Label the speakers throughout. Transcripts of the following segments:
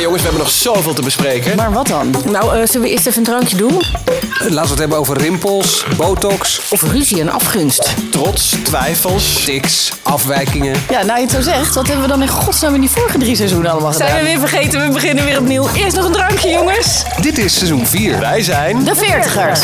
Speaker 1: Jongens, we hebben nog zoveel te bespreken.
Speaker 2: Maar wat dan?
Speaker 3: Nou, eh, zullen we eerst even een drankje doen?
Speaker 4: Laten we het hebben over rimpels, botox,
Speaker 3: Of ruzie en afgunst.
Speaker 1: Trots, twijfels.
Speaker 4: tics, afwijkingen.
Speaker 2: Ja, nou je het zo zegt, wat hebben we dan in godsnaam in die vorige drie seizoenen allemaal gedaan?
Speaker 3: Zijn we weer vergeten, we beginnen weer opnieuw. Eerst nog een drankje, jongens.
Speaker 4: Dit is seizoen 4.
Speaker 1: Wij zijn.
Speaker 2: De veertigers.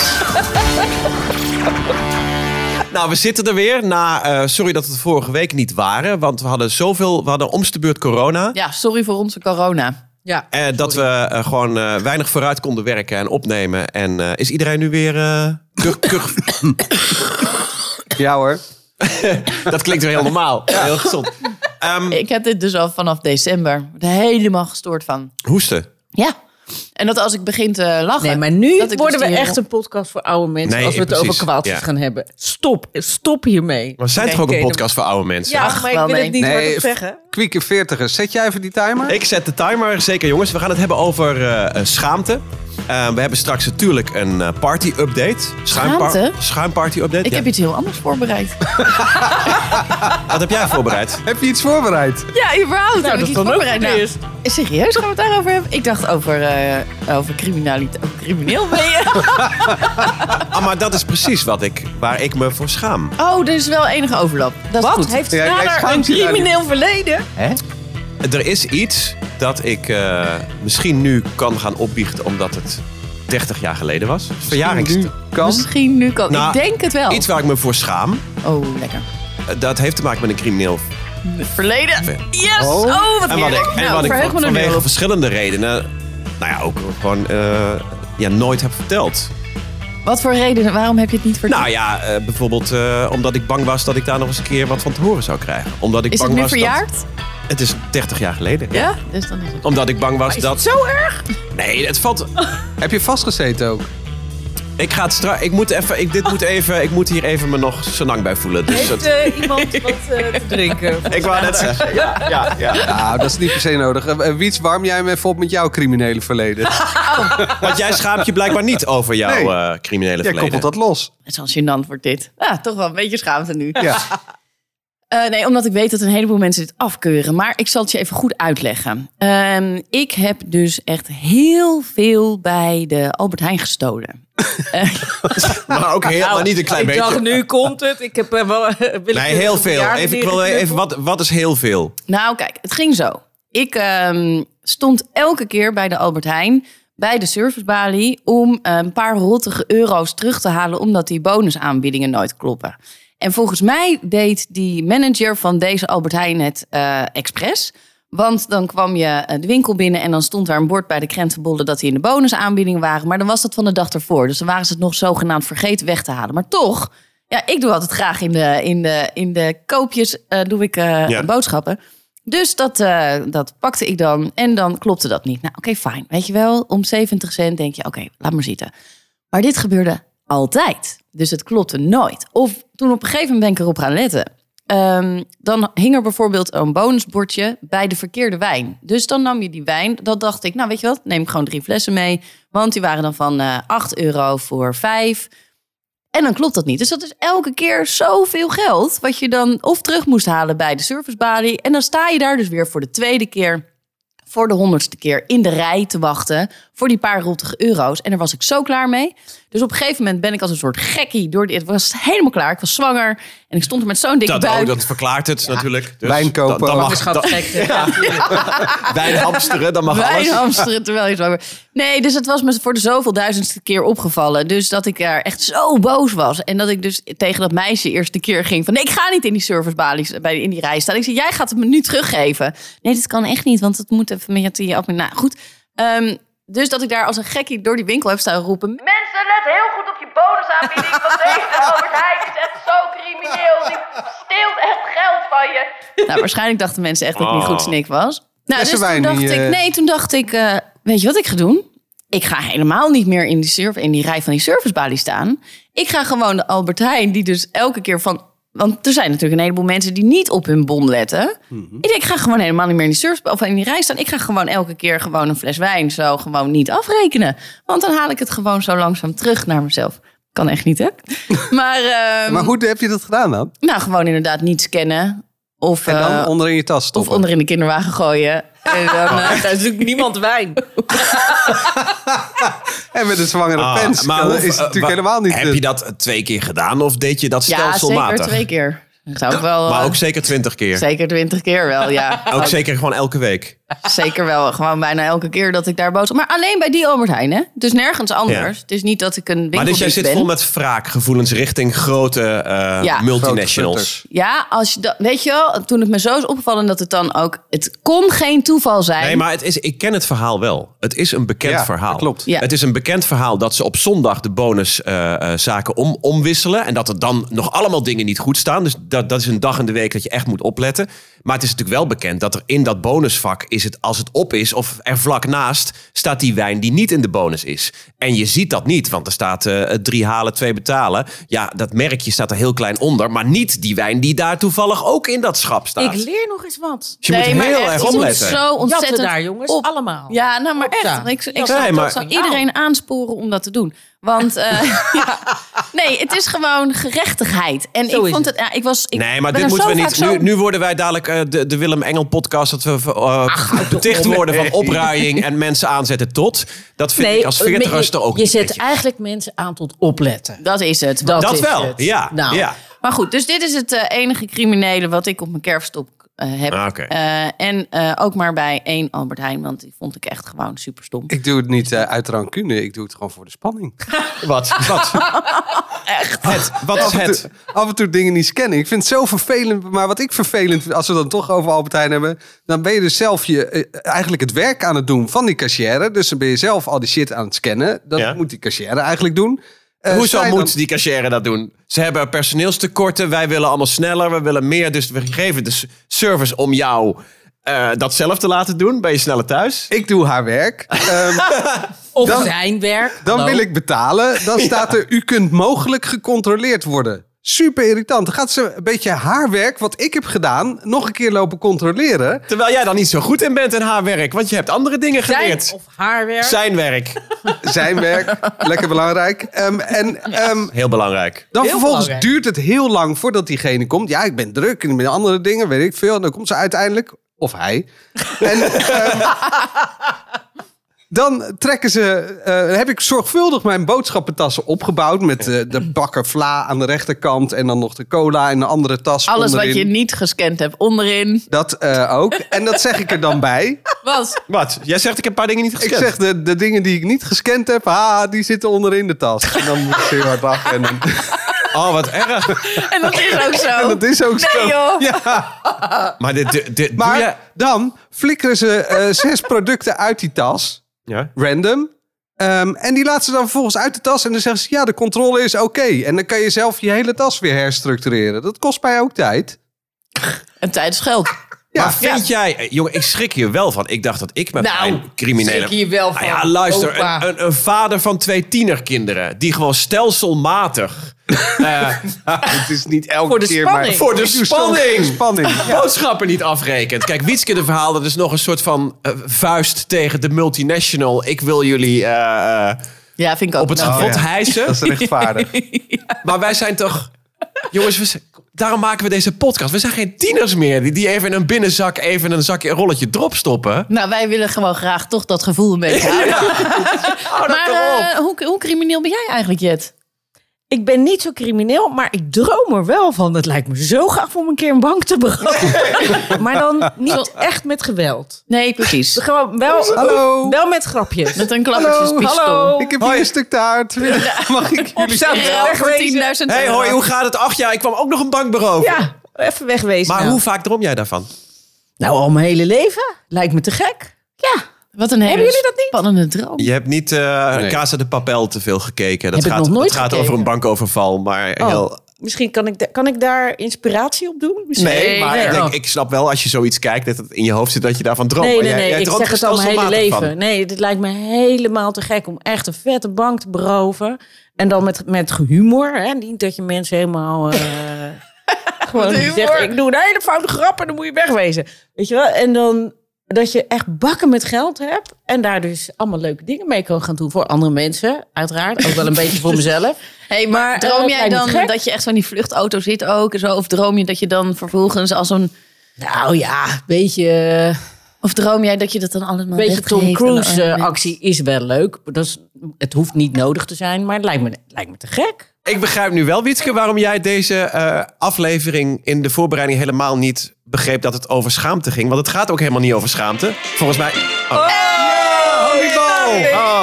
Speaker 1: Nou, we zitten er weer. Na, eh, sorry dat we het vorige week niet waren. Want we hadden zoveel. We hadden omste beurt corona.
Speaker 2: Ja, sorry voor onze corona.
Speaker 3: Ja.
Speaker 1: Eh, dat we eh, gewoon eh, weinig vooruit konden werken en opnemen. En eh, is iedereen nu weer. eh, kug- kug-
Speaker 4: Ja hoor.
Speaker 1: dat klinkt weer heel normaal. Heel gezond. Ehm,
Speaker 2: Ik heb dit dus al vanaf december er helemaal gestoord van.
Speaker 1: hoesten.
Speaker 2: Ja. En dat als ik begin te lachen...
Speaker 5: Nee, maar nu
Speaker 2: dat ik
Speaker 5: worden
Speaker 2: dus
Speaker 5: we
Speaker 2: die-
Speaker 5: echt een podcast voor oude mensen
Speaker 1: Nee,
Speaker 5: als we het
Speaker 1: precies,
Speaker 5: over kwaaltjes
Speaker 1: ja.
Speaker 5: gaan hebben. Stop, stop hiermee.
Speaker 1: Maar we zijn
Speaker 5: Nee,
Speaker 1: toch ook een
Speaker 5: oké,
Speaker 1: podcast voor oude mensen?
Speaker 5: Ja,
Speaker 2: Ach,
Speaker 5: maar
Speaker 2: wel,
Speaker 5: ik wil
Speaker 2: nee.
Speaker 5: het niet
Speaker 4: Nee,
Speaker 5: hardop zeggen.
Speaker 4: Kwieke 40 zet jij even die timer?
Speaker 1: Ik zet de timer, zeker jongens. We gaan het hebben over eh, eh, schaamte. Eh, we hebben straks natuurlijk een eh, party-update. Schuimpar-
Speaker 2: Schaamte?
Speaker 1: Schuimparty-update.
Speaker 2: Ik
Speaker 1: Ja.
Speaker 2: heb iets heel anders voorbereid.
Speaker 1: Wat heb jij voorbereid?
Speaker 4: Heb je iets voorbereid?
Speaker 2: Ja, überhaupt. heb ik
Speaker 5: dat
Speaker 2: iets
Speaker 5: kan ook
Speaker 2: voorbereid.
Speaker 5: voor
Speaker 2: Nou,
Speaker 5: eerst.
Speaker 2: Serieus, gaan we het daarover hebben? Ik dacht over, eh over criminaliteit. Over crimineel ben je?
Speaker 1: Ah, maar dat is precies wat ik, waar ik me voor schaam.
Speaker 2: Oh, er is wel enige overlap. Dat is
Speaker 5: Wat
Speaker 2: goed.
Speaker 5: heeft
Speaker 4: Ja, jij
Speaker 5: vader een
Speaker 4: schaamt je daar niet.
Speaker 5: crimineel verleden?
Speaker 1: Er is iets dat ik eh, misschien nu kan gaan opbiechten omdat het 30 jaar geleden was. Verjarings.
Speaker 4: Nu kan.
Speaker 2: Misschien nu kan...
Speaker 1: Nou,
Speaker 2: ik denk het wel.
Speaker 1: Iets waar ik me voor schaam.
Speaker 2: Oh, lekker.
Speaker 1: Eh, Dat heeft te maken met een crimineel.
Speaker 2: Verleden. Yes!
Speaker 4: Oh.
Speaker 2: Oh, wat
Speaker 1: En wat ik,
Speaker 2: heerlijk.
Speaker 1: en
Speaker 2: nou,
Speaker 1: wat ik
Speaker 2: verheug
Speaker 1: van-
Speaker 2: me er nu
Speaker 1: vanwege
Speaker 2: op.
Speaker 1: verschillende redenen, nou ja, ook gewoon eh, ja, nooit heb verteld.
Speaker 2: Wat voor redenen? Waarom heb je het niet verteld?
Speaker 1: Nou ja, eh, bijvoorbeeld eh, omdat ik bang was dat ik daar nog eens een keer wat van te horen zou krijgen. Omdat ik
Speaker 2: is het
Speaker 1: bang
Speaker 2: nu
Speaker 1: was dat-
Speaker 2: verjaard?
Speaker 1: Het is 30 jaar geleden.
Speaker 2: Ja? Dus dan is het...
Speaker 1: Omdat ik bang was Nou, dat.
Speaker 5: Zo erg?
Speaker 1: Nee, het valt.
Speaker 4: Heb je vastgezeten ook?
Speaker 1: Ik ga het straks. Ik moet even. Ik, dit moet even. Ik moet hier even me nog zo lang bij voelen. Dus
Speaker 5: Heeft
Speaker 1: dat-
Speaker 5: eh, iemand wat eh, te drinken?
Speaker 1: ik wou net zeggen. Ja, ja, ja.
Speaker 4: Nou, dat is niet per se nodig. Eh, eh, Wiets, warm jij me even op met jouw criminele verleden?
Speaker 1: Want jij schaamt je blijkbaar niet over jouw
Speaker 4: Nee.
Speaker 1: eh, criminele
Speaker 4: Jij
Speaker 1: verleden.
Speaker 4: koppelt dat los.
Speaker 2: Het is wel gênant wordt dit. Ja, toch wel een beetje schaamte nu.
Speaker 4: Ja.
Speaker 2: Eh, nee, omdat ik weet dat een heleboel mensen dit afkeuren. Maar ik zal het je even goed uitleggen. Ehm, ik heb dus echt heel veel bij de Albert Heijn gestolen.
Speaker 1: Maar ook helemaal niet een klein
Speaker 5: Nou, ik
Speaker 1: beetje.
Speaker 5: dacht, nu komt het. Ik heb eh, wel... eh, wil
Speaker 1: Nee,
Speaker 5: ik weer
Speaker 1: heel
Speaker 5: een
Speaker 1: veel.
Speaker 5: verjaardag
Speaker 1: Even, ik
Speaker 5: leren
Speaker 1: wil even.
Speaker 5: knuffelen?
Speaker 1: Wat, wat is heel veel?
Speaker 2: Nou, kijk, het ging zo. Ik ehm, stond elke keer bij de Albert Heijn, bij de servicebalie, om eh, een paar rottige euro's terug te halen, omdat die bonusaanbiedingen nooit kloppen. En volgens mij deed die manager van deze Albert Heijn het eh, expres. Want dan kwam je eh, de winkel binnen en dan stond daar een bord bij de krentenbollen dat die in de bonusaanbieding waren. Maar dan was dat van de dag ervoor. Dus dan waren ze het nog zogenaamd vergeten weg te halen. Maar toch, ja, ik doe altijd graag in de, in de, in de koopjes eh, doe ik, eh,
Speaker 1: Ja.
Speaker 2: boodschappen. Dus dat, eh, dat pakte ik dan en dan klopte dat niet. Nou, oké, fijn. Weet je wel, om 70 cent denk je, oké, laat maar zitten. Maar dit gebeurde altijd. Dus het klopte nooit. Of toen op een gegeven moment ben ik erop gaan letten. Ehm, dan hing er bijvoorbeeld een bonusbordje bij de verkeerde wijn. Dus dan nam je die wijn. Dat dacht ik, nou weet je wat, neem ik gewoon drie flessen mee. Want die waren dan van eh 8 euro voor 5. En dan klopt dat niet. Dus dat is elke keer zoveel geld. Wat je dan of terug moest halen bij de servicebalie. En dan sta je daar dus weer voor de tweede keer. Voor de honderdste keer in de rij te wachten. Voor die paar rottige euro's. En daar was ik zo klaar mee. Dus op een gegeven moment ben ik als een soort gekkie. Door die, het was helemaal klaar. Ik was zwanger. En ik stond er met zo'n dikke
Speaker 1: Dat,
Speaker 2: buik.
Speaker 1: Nou, ook, dat verklaart het natuurlijk. Dus
Speaker 4: Wijn kopen
Speaker 1: Dan, dan
Speaker 4: ook.
Speaker 1: mag,
Speaker 5: Is gaat
Speaker 1: dan-
Speaker 5: gek. hè?
Speaker 1: wijn hamsteren, dan mag
Speaker 2: Wijn
Speaker 1: alles.
Speaker 2: hamsteren terwijl je zwanger bent. Nee, dus het was me voor de zoveel duizendste keer opgevallen. Dus dat ik daar echt zo boos was. En dat ik dus tegen dat meisje eerst de keer ging van... Nee, ik ga niet in die servicebalies bij, in die rij staan. Ik zei, jij gaat het me nu teruggeven. Nee, dit kan echt niet, want het moet even met je af. Nou, goed. Ehm, dus dat ik daar als een gekkie door die winkel heb staan roepen...
Speaker 6: Mensen, let heel goed op je bonusaanbieding. Want deze Albert Heijn is echt zo crimineel. Die steelt echt geld van je.
Speaker 2: Nou, waarschijnlijk dachten mensen echt dat ik niet goed snik was. Nou, dus
Speaker 4: Flessenwijn
Speaker 2: toen dacht
Speaker 4: die, eh,
Speaker 2: ik, nee, toen dacht ik, eh, weet je wat ik ga doen? Ik ga helemaal niet meer in die, surf, in die rij van die servicebalie staan. Ik ga gewoon de Albert Heijn, die dus elke keer van... Want er zijn natuurlijk een heleboel mensen die niet op hun bon letten. Ik denk, ik ga gewoon helemaal niet meer in die, surf, of in die rij staan. Ik ga gewoon elke keer gewoon een fles wijn zo gewoon niet afrekenen. Want dan haal ik het gewoon zo langzaam terug naar mezelf. Kan echt niet, hè? Maar, ehm,
Speaker 4: Maar hoe heb je dat gedaan dan?
Speaker 2: nou, gewoon inderdaad niet scannen. Of,
Speaker 4: En dan
Speaker 2: eh,
Speaker 4: onder in je tas
Speaker 2: of
Speaker 4: stoppen.
Speaker 2: onder in de kinderwagen gooien. En dan, eh,
Speaker 5: Daar is natuurlijk niemand wijn.
Speaker 1: Nou.
Speaker 4: En met een zwangere
Speaker 1: Ah,
Speaker 4: pens. Maar
Speaker 1: hoe-
Speaker 4: is het
Speaker 1: eh,
Speaker 4: natuurlijk
Speaker 1: wa-
Speaker 4: helemaal niet...
Speaker 1: Heb je dat twee keer gedaan of deed je dat
Speaker 2: ja,
Speaker 1: stelselmatig?
Speaker 2: zeker twee keer. Dat Zou ik wel,
Speaker 1: Maar
Speaker 2: eh,
Speaker 1: ook zeker twintig keer.
Speaker 2: zeker twintig keer wel, ja.
Speaker 1: Ook zeker gewoon elke week.
Speaker 2: Zeker wel, gewoon bijna elke keer dat ik daar boodschap... Maar alleen bij die Albert Heijn, hè? Dus nergens anders.
Speaker 1: Ja.
Speaker 2: Het is niet dat ik een
Speaker 1: Maar dus jij
Speaker 2: winkeldief
Speaker 1: zit
Speaker 2: ben.
Speaker 1: vol met wraakgevoelens richting grote eh,
Speaker 2: Ja.
Speaker 1: multinationals.
Speaker 2: Ja, als je dat, weet je wel, toen het me zo is opgevallen dat het dan ook... Het kon geen toeval zijn.
Speaker 1: Nee, maar het is, ik ken het verhaal wel. Het is een bekend
Speaker 4: Ja,
Speaker 1: verhaal.
Speaker 4: dat klopt.
Speaker 2: Ja.
Speaker 1: Het is een bekend verhaal dat ze op zondag de bonuszaken om, omwisselen. En dat er dan nog allemaal dingen niet goed staan. Dus dat, dat is een dag in de week dat je echt moet opletten. Maar het is natuurlijk wel bekend dat er in dat bonusvak is het, als het op is of er vlak naast, staat die wijn die niet in de bonus is. En je ziet dat niet, want er staat eh, drie halen, twee betalen. Ja, dat merkje staat er heel klein onder. Maar niet die wijn die daar toevallig ook in dat schap staat.
Speaker 5: Ik leer nog eens wat.
Speaker 1: Dus je
Speaker 2: Nee,
Speaker 1: moet
Speaker 2: maar
Speaker 1: heel
Speaker 2: echt,
Speaker 1: erg
Speaker 2: je moet
Speaker 1: opletten.
Speaker 2: zo ontzettend
Speaker 5: Jatten daar, jongens.
Speaker 2: op.
Speaker 5: Allemaal.
Speaker 2: Ja, nou maar
Speaker 5: Opstaan.
Speaker 2: echt. Ik, ik
Speaker 5: Nee,
Speaker 2: zou, dat
Speaker 1: maar-
Speaker 2: zou iedereen aansporen om dat te doen. Want eh, ja. nee, het is gewoon gerechtigheid. En
Speaker 5: Zo
Speaker 2: ik
Speaker 5: is
Speaker 2: vond het, ja, ik was. Ik
Speaker 1: Nee, maar
Speaker 2: ben
Speaker 1: dit
Speaker 2: er
Speaker 1: moeten we
Speaker 2: zo
Speaker 1: niet.
Speaker 2: vaak zo-
Speaker 1: Nu, nu worden wij dadelijk eh, de, de Willem Engel podcast. Dat we eh, beticht worden van opruiing en mensen aanzetten tot. Dat vind ik als veertigster ook
Speaker 5: eh, je
Speaker 1: niet.
Speaker 5: zet
Speaker 1: weet je.
Speaker 5: eigenlijk mensen aan tot opletten.
Speaker 2: Dat is het.
Speaker 1: Dat
Speaker 5: is
Speaker 1: wel,
Speaker 5: het.
Speaker 1: ja,
Speaker 5: Nou,
Speaker 1: ja.
Speaker 2: Maar goed, dus dit is het eh, enige criminele wat ik op mijn kerfstok eh, heb.
Speaker 1: Ah, oké.
Speaker 2: Eh, en eh, ook maar bij één Albert Heijn, want die vond ik echt gewoon super stom.
Speaker 4: Ik doe het niet eh, uit rancune. Ik doe het gewoon voor de spanning.
Speaker 1: Wat? Wat? Echt? Het, wat is
Speaker 4: af, en
Speaker 1: het?
Speaker 4: toe, af en toe dingen niet scannen. Ik vind het zo vervelend. Maar wat ik vervelend vind, als we dan toch over Albert Heijn hebben... dan ben je dus zelf je, eh, eigenlijk het werk aan het doen van die cashier. Dus dan ben je zelf al die shit aan het scannen. Dat
Speaker 1: Ja.
Speaker 4: moet die cashier eigenlijk doen. Eh, sta
Speaker 1: Hoezo
Speaker 4: je
Speaker 1: moet
Speaker 4: dan-
Speaker 1: die cashier dat doen? Ze hebben personeelstekorten. Wij willen allemaal sneller. We willen meer. Dus we geven de s- service om jou eh, dat zelf te laten doen. Ben je sneller thuis?
Speaker 4: Ik doe haar werk. Ehm,
Speaker 5: Of
Speaker 4: Dan-
Speaker 5: zijn werk.
Speaker 4: dan
Speaker 1: Nou.
Speaker 5: Hallo.
Speaker 4: wil ik betalen. Dan staat er, u kunt mogelijk gecontroleerd worden. Super irritant. Dan gaat ze een beetje haar werk, wat ik heb gedaan... nog een keer lopen controleren.
Speaker 1: Terwijl jij dan niet zo goed in bent in haar werk. Want je hebt andere dingen
Speaker 5: zijn
Speaker 1: geleerd.
Speaker 5: of haar werk.
Speaker 1: Zijn werk.
Speaker 4: Zijn werk, lekker belangrijk. Ehm, en ehm,
Speaker 1: Heel belangrijk.
Speaker 4: Dan
Speaker 5: Heel
Speaker 4: vervolgens
Speaker 5: belangrijk.
Speaker 4: duurt het heel lang voordat diegene komt. Ja, ik ben druk en met andere dingen, weet ik veel. En dan komt ze uiteindelijk, of hij. En, ehm, dan trekken ze, eh, heb ik zorgvuldig mijn boodschappentassen opgebouwd. Met eh, de bakken vla aan de rechterkant en dan nog de cola in een andere tas.
Speaker 2: Alles
Speaker 4: onderin.
Speaker 2: wat je niet gescand hebt onderin
Speaker 4: Dat eh, ook. En dat zeg ik er dan bij.
Speaker 2: was.
Speaker 1: Wat? Jij zegt ik heb een paar dingen niet
Speaker 4: Ik
Speaker 1: gescand.
Speaker 4: zeg de, de dingen die ik niet gescand heb, ha, die zitten onderin de tas. En dan moet ik ze heel hard lachen. En, dan-
Speaker 1: Oh, wat erg.
Speaker 2: En dat is ook zo.
Speaker 4: en dat is ook zo.
Speaker 2: Nee joh.
Speaker 4: Ja.
Speaker 1: Maar dit, dit, dit-
Speaker 4: Maar
Speaker 1: doe jij...
Speaker 4: dan flikkeren ze eh, zes producten uit die tas,
Speaker 1: Ja?
Speaker 4: random. Ehm, en die laten ze dan vervolgens uit de tas en dan zeggen ze, ja, de controle is oké. En dan kan je zelf je hele tas weer herstructureren. Dat kost mij ook tijd.
Speaker 2: En tijd is geld.
Speaker 4: Ja,
Speaker 1: maar vind jij... eh, Jongen, ik schrik hier wel van. Ik dacht dat ik met
Speaker 5: Nou,
Speaker 1: mijn criminele...
Speaker 5: schrik hier wel
Speaker 1: Nou
Speaker 5: van,
Speaker 1: ja, luister.
Speaker 5: opa.
Speaker 1: Een, een, een vader van twee tienerkinderen... die gewoon stelselmatig... eh,
Speaker 4: het is niet elke
Speaker 5: Voor de
Speaker 4: keer, maar
Speaker 5: spanning.
Speaker 1: Voor de
Speaker 4: Ik doe soms
Speaker 1: spanning.
Speaker 4: de spanning. Ja.
Speaker 1: boodschappen niet afrekent. Kijk, Wietske de verhaal, dat is nog een soort van eh, vuist tegen de multinational. Ik wil jullie eh, eh,
Speaker 2: Ja, vind ik ook.
Speaker 1: op het
Speaker 2: Nou,
Speaker 1: schavot
Speaker 4: ja.
Speaker 1: hijsen.
Speaker 4: Dat is rechtvaardig.
Speaker 1: Maar wij zijn toch... Jongens, we zijn- daarom maken we deze podcast. We zijn geen tieners meer die, die even in een binnenzak... even een zakje een rolletje drop stoppen.
Speaker 2: Nou, wij willen gewoon graag toch dat gevoel een beetje houden.
Speaker 1: Hou Oh, dat
Speaker 2: maar
Speaker 1: toch op.
Speaker 2: eh, hoe, hoe crimineel ben jij eigenlijk, Jet?
Speaker 5: Ik ben niet zo crimineel, maar ik droom er wel van. Het lijkt me zo gaaf om een keer een bank te beroven. maar dan niet echt met geweld.
Speaker 2: Nee, precies.
Speaker 5: Gewoon wel,
Speaker 4: Hallo.
Speaker 5: wel met grapjes.
Speaker 2: Met een
Speaker 5: hallo.
Speaker 2: klappertjespistool.
Speaker 5: Oh.
Speaker 4: Ik heb hier een stuk taart. Mag ik jullie...
Speaker 5: Zou ik
Speaker 2: Ruil voor
Speaker 5: wegwezen?
Speaker 2: 10.000
Speaker 1: hey,
Speaker 2: euro.
Speaker 1: hoi, hoe gaat het? Ach ja, ik kwam ook nog een bank beroven.
Speaker 5: Ja, even wegwezen.
Speaker 1: Maar
Speaker 5: nou.
Speaker 1: hoe vaak droom jij daarvan?
Speaker 5: Nou, al mijn hele leven. Lijkt me te gek. Ja.
Speaker 2: Wat een hele
Speaker 5: Hebben jullie dat niet?
Speaker 2: spannende droom.
Speaker 1: Je hebt niet eh
Speaker 4: Nee.
Speaker 1: Casa de Papel te veel gekeken. Dat
Speaker 5: Heb ik
Speaker 1: gaat,
Speaker 5: nog nooit
Speaker 1: dat gaat
Speaker 5: gekeken.
Speaker 1: over een bankoverval, maar
Speaker 5: Oh,
Speaker 1: heel
Speaker 5: Misschien kan ik, da- kan ik daar inspiratie op doen? Misschien?
Speaker 1: Nee, maar
Speaker 5: nee.
Speaker 1: ik,
Speaker 5: Oh.
Speaker 1: denk, ik snap wel als je zoiets kijkt dat het in je hoofd zit dat je daarvan droomt.
Speaker 5: Nee,
Speaker 1: Maar
Speaker 5: nee,
Speaker 1: jij-
Speaker 5: nee.
Speaker 1: jij
Speaker 5: Ik
Speaker 1: droomt
Speaker 5: zeg
Speaker 1: er
Speaker 5: het al mijn hele
Speaker 1: stelselmatig
Speaker 5: leven.
Speaker 1: van.
Speaker 5: Nee, dit lijkt me helemaal te gek om echt een vette bank te beroven. En dan met, met humor. Hè? Niet dat je mensen helemaal... eh, gewoon
Speaker 2: Met humor.
Speaker 5: zegt, ik doe een hele foute grap en dan moet je wegwezen. Weet je wel? En dan dat je echt bakken met geld hebt. En daar dus allemaal leuke dingen mee kan gaan doen. Voor andere mensen, uiteraard. Ook wel een beetje voor mezelf.
Speaker 2: Hey, maar
Speaker 5: Maar, eh,
Speaker 2: droom
Speaker 5: dat
Speaker 2: jij
Speaker 5: lijkt me
Speaker 2: dan
Speaker 5: gek.
Speaker 2: dat je echt zo in die vluchtauto zit ook? En zo, of droom je dat je dan vervolgens als een
Speaker 5: Nou ja, een beetje,
Speaker 1: Oh,
Speaker 2: Of droom jij dat je dat dan allemaal
Speaker 5: een beetje
Speaker 2: rechtgeeft
Speaker 5: Tom
Speaker 2: aan de
Speaker 5: Cruise eh,
Speaker 2: armen?
Speaker 5: actie is wel leuk. Dat is, het hoeft niet nodig te zijn, maar het lijkt me, lijkt me te gek.
Speaker 1: Ik begrijp nu wel, Wietke, waarom jij deze eh, aflevering in de voorbereiding helemaal niet begreep dat het over schaamte ging. Want het gaat ook helemaal niet over schaamte. Volgens mij. Oh.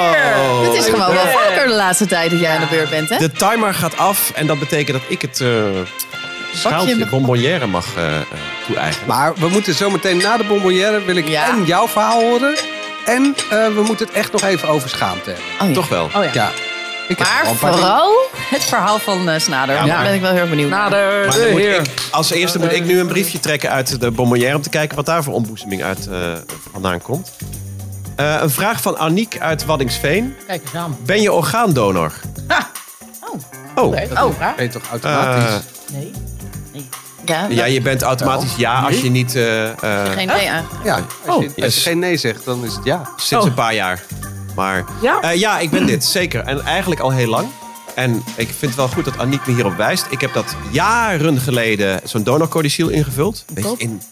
Speaker 1: Oh.
Speaker 2: Het is gewoon wel vaker de laatste tijd dat jij aan de beurt bent, hè?
Speaker 1: De timer gaat af en dat betekent dat ik het eh
Speaker 2: Bakje
Speaker 1: schaaltje
Speaker 2: met-
Speaker 1: bonbonnière mag eh eh, toe-eigenen.
Speaker 4: Maar we moeten zometeen na de bonbonnière wil ik
Speaker 2: Ja.
Speaker 4: en jouw verhaal horen. En eh, we moeten het echt nog even over schaamte hebben.
Speaker 2: Oh, ja.
Speaker 1: Toch wel.
Speaker 5: Oh ja.
Speaker 4: Ja. Ik heb
Speaker 2: Maar
Speaker 4: wel een paar
Speaker 2: vooral het verhaal van eh, Snader. Daar ben ik wel heel erg benieuwd naar.
Speaker 1: Maar
Speaker 5: eh,
Speaker 1: dan moet ik, als eerste moet ik nu een briefje trekken uit de bonbonnière... om te kijken wat daar voor ontboezeming uit, eh, vandaan komt. Eh, een vraag van Aniek uit Waddingsveen.
Speaker 5: Kijk eens aan.
Speaker 1: Ben je orgaandonor? Oh. Oh.
Speaker 5: Nee, oh,
Speaker 4: dingen. Ben je toch automatisch?
Speaker 1: Eh,
Speaker 5: nee.
Speaker 2: Ja,
Speaker 1: ja, je bent automatisch ja als je niet... eh, eh, Oh,
Speaker 2: geen idee aan.
Speaker 4: ja. Als, je, als je
Speaker 1: yes.
Speaker 4: geen nee zegt, dan is het ja.
Speaker 1: sinds
Speaker 5: Oh.
Speaker 1: een paar jaar. Maar
Speaker 5: Ja?
Speaker 1: eh, ja, ik ben dit, zeker. En eigenlijk al heel lang. En ik vind het wel goed dat Aniek me hierop wijst. Ik heb dat jaren geleden zo'n donorcodiciel ingevuld. Weet je, in,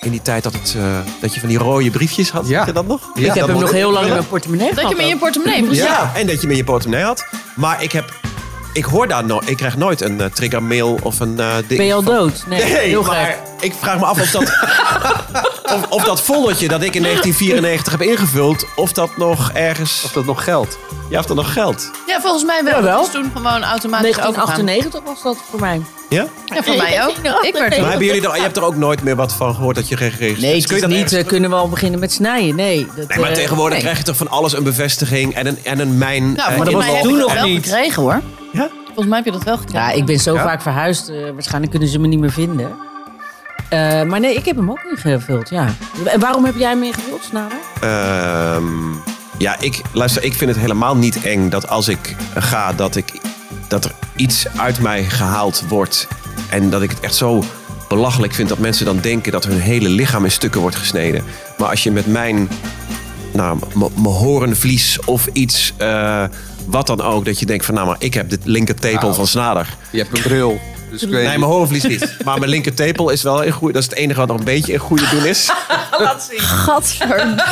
Speaker 1: in die tijd dat, het, eh, dat je van die rode briefjes had.
Speaker 4: Ja.
Speaker 1: Weet je dat nog?
Speaker 4: Ik
Speaker 5: Ik heb
Speaker 1: dat
Speaker 5: hem
Speaker 1: was-
Speaker 5: nog heel lang in mijn portemonnee
Speaker 2: Dat je hem in je portemonnee precies.
Speaker 1: Ja. en dat je hem in je portemonnee had. Maar ik heb... Ik hoor daar nooit... Ik krijg nooit een eh, triggermail of een eh ding.
Speaker 5: Ben je al
Speaker 1: van-
Speaker 5: dood? Nee,
Speaker 1: Nee,
Speaker 5: heel
Speaker 1: maar
Speaker 5: gek.
Speaker 1: ik vraag me af of dat, of, of dat foldertje dat ik in 1994 heb ingevuld, of dat nog ergens,
Speaker 4: Of dat nog geldt.
Speaker 1: ja, of dat nog geldt.
Speaker 2: Ja, volgens mij wel.
Speaker 5: Jawel.
Speaker 2: Dus toen gewoon automatisch overgaan.
Speaker 5: 1998 was dat voor mij. Dus
Speaker 1: Ja?
Speaker 2: Ja, voor mij ook. Ik werd
Speaker 1: Maar hebben jullie er, je hebt er ook nooit meer wat van gehoord dat je geregistreerd
Speaker 5: Nee,
Speaker 1: Dus
Speaker 5: het
Speaker 1: kun je
Speaker 5: is
Speaker 1: dat
Speaker 5: niet.
Speaker 1: ergens-
Speaker 5: eh, kunnen we al beginnen met snijden? Nee. Dat,
Speaker 1: Nee, maar
Speaker 5: eh,
Speaker 1: tegenwoordig
Speaker 5: nee.
Speaker 1: krijg je toch van alles een bevestiging en een, en een mijn...
Speaker 2: Nou,
Speaker 1: eh,
Speaker 2: volgens
Speaker 5: dat
Speaker 2: mij
Speaker 5: was
Speaker 2: heb
Speaker 5: toen
Speaker 2: je dat
Speaker 5: nog
Speaker 2: wel
Speaker 5: niet.
Speaker 2: gekregen hoor.
Speaker 1: Ja?
Speaker 2: Volgens mij heb je dat wel gekregen.
Speaker 5: Ja, ik ben zo
Speaker 1: Ja?
Speaker 5: vaak verhuisd. eh, waarschijnlijk kunnen ze me niet meer vinden. Eh, maar nee, ik heb hem ook ingevuld, ja. En waarom heb jij hem ingevuld, Snader?
Speaker 1: Ehm, ja, ik, luister, ik vind het helemaal niet eng dat als ik ga, dat, ik, dat er iets uit mij gehaald wordt. En dat ik het echt zo belachelijk vind dat mensen dan denken dat hun hele lichaam in stukken wordt gesneden. Maar als je met mijn, nou, m- mijn horenvlies of iets, eh, wat dan ook, dat je denkt van nou, maar ik heb dit linkertepel van Snader.
Speaker 4: Je hebt een bril. Dus ik weet
Speaker 1: Nee, mijn horenvlies niet. Maar mijn linkertepel is wel in goede, dat is het enige wat nog een beetje in goede doen is.
Speaker 2: Gadverdamme.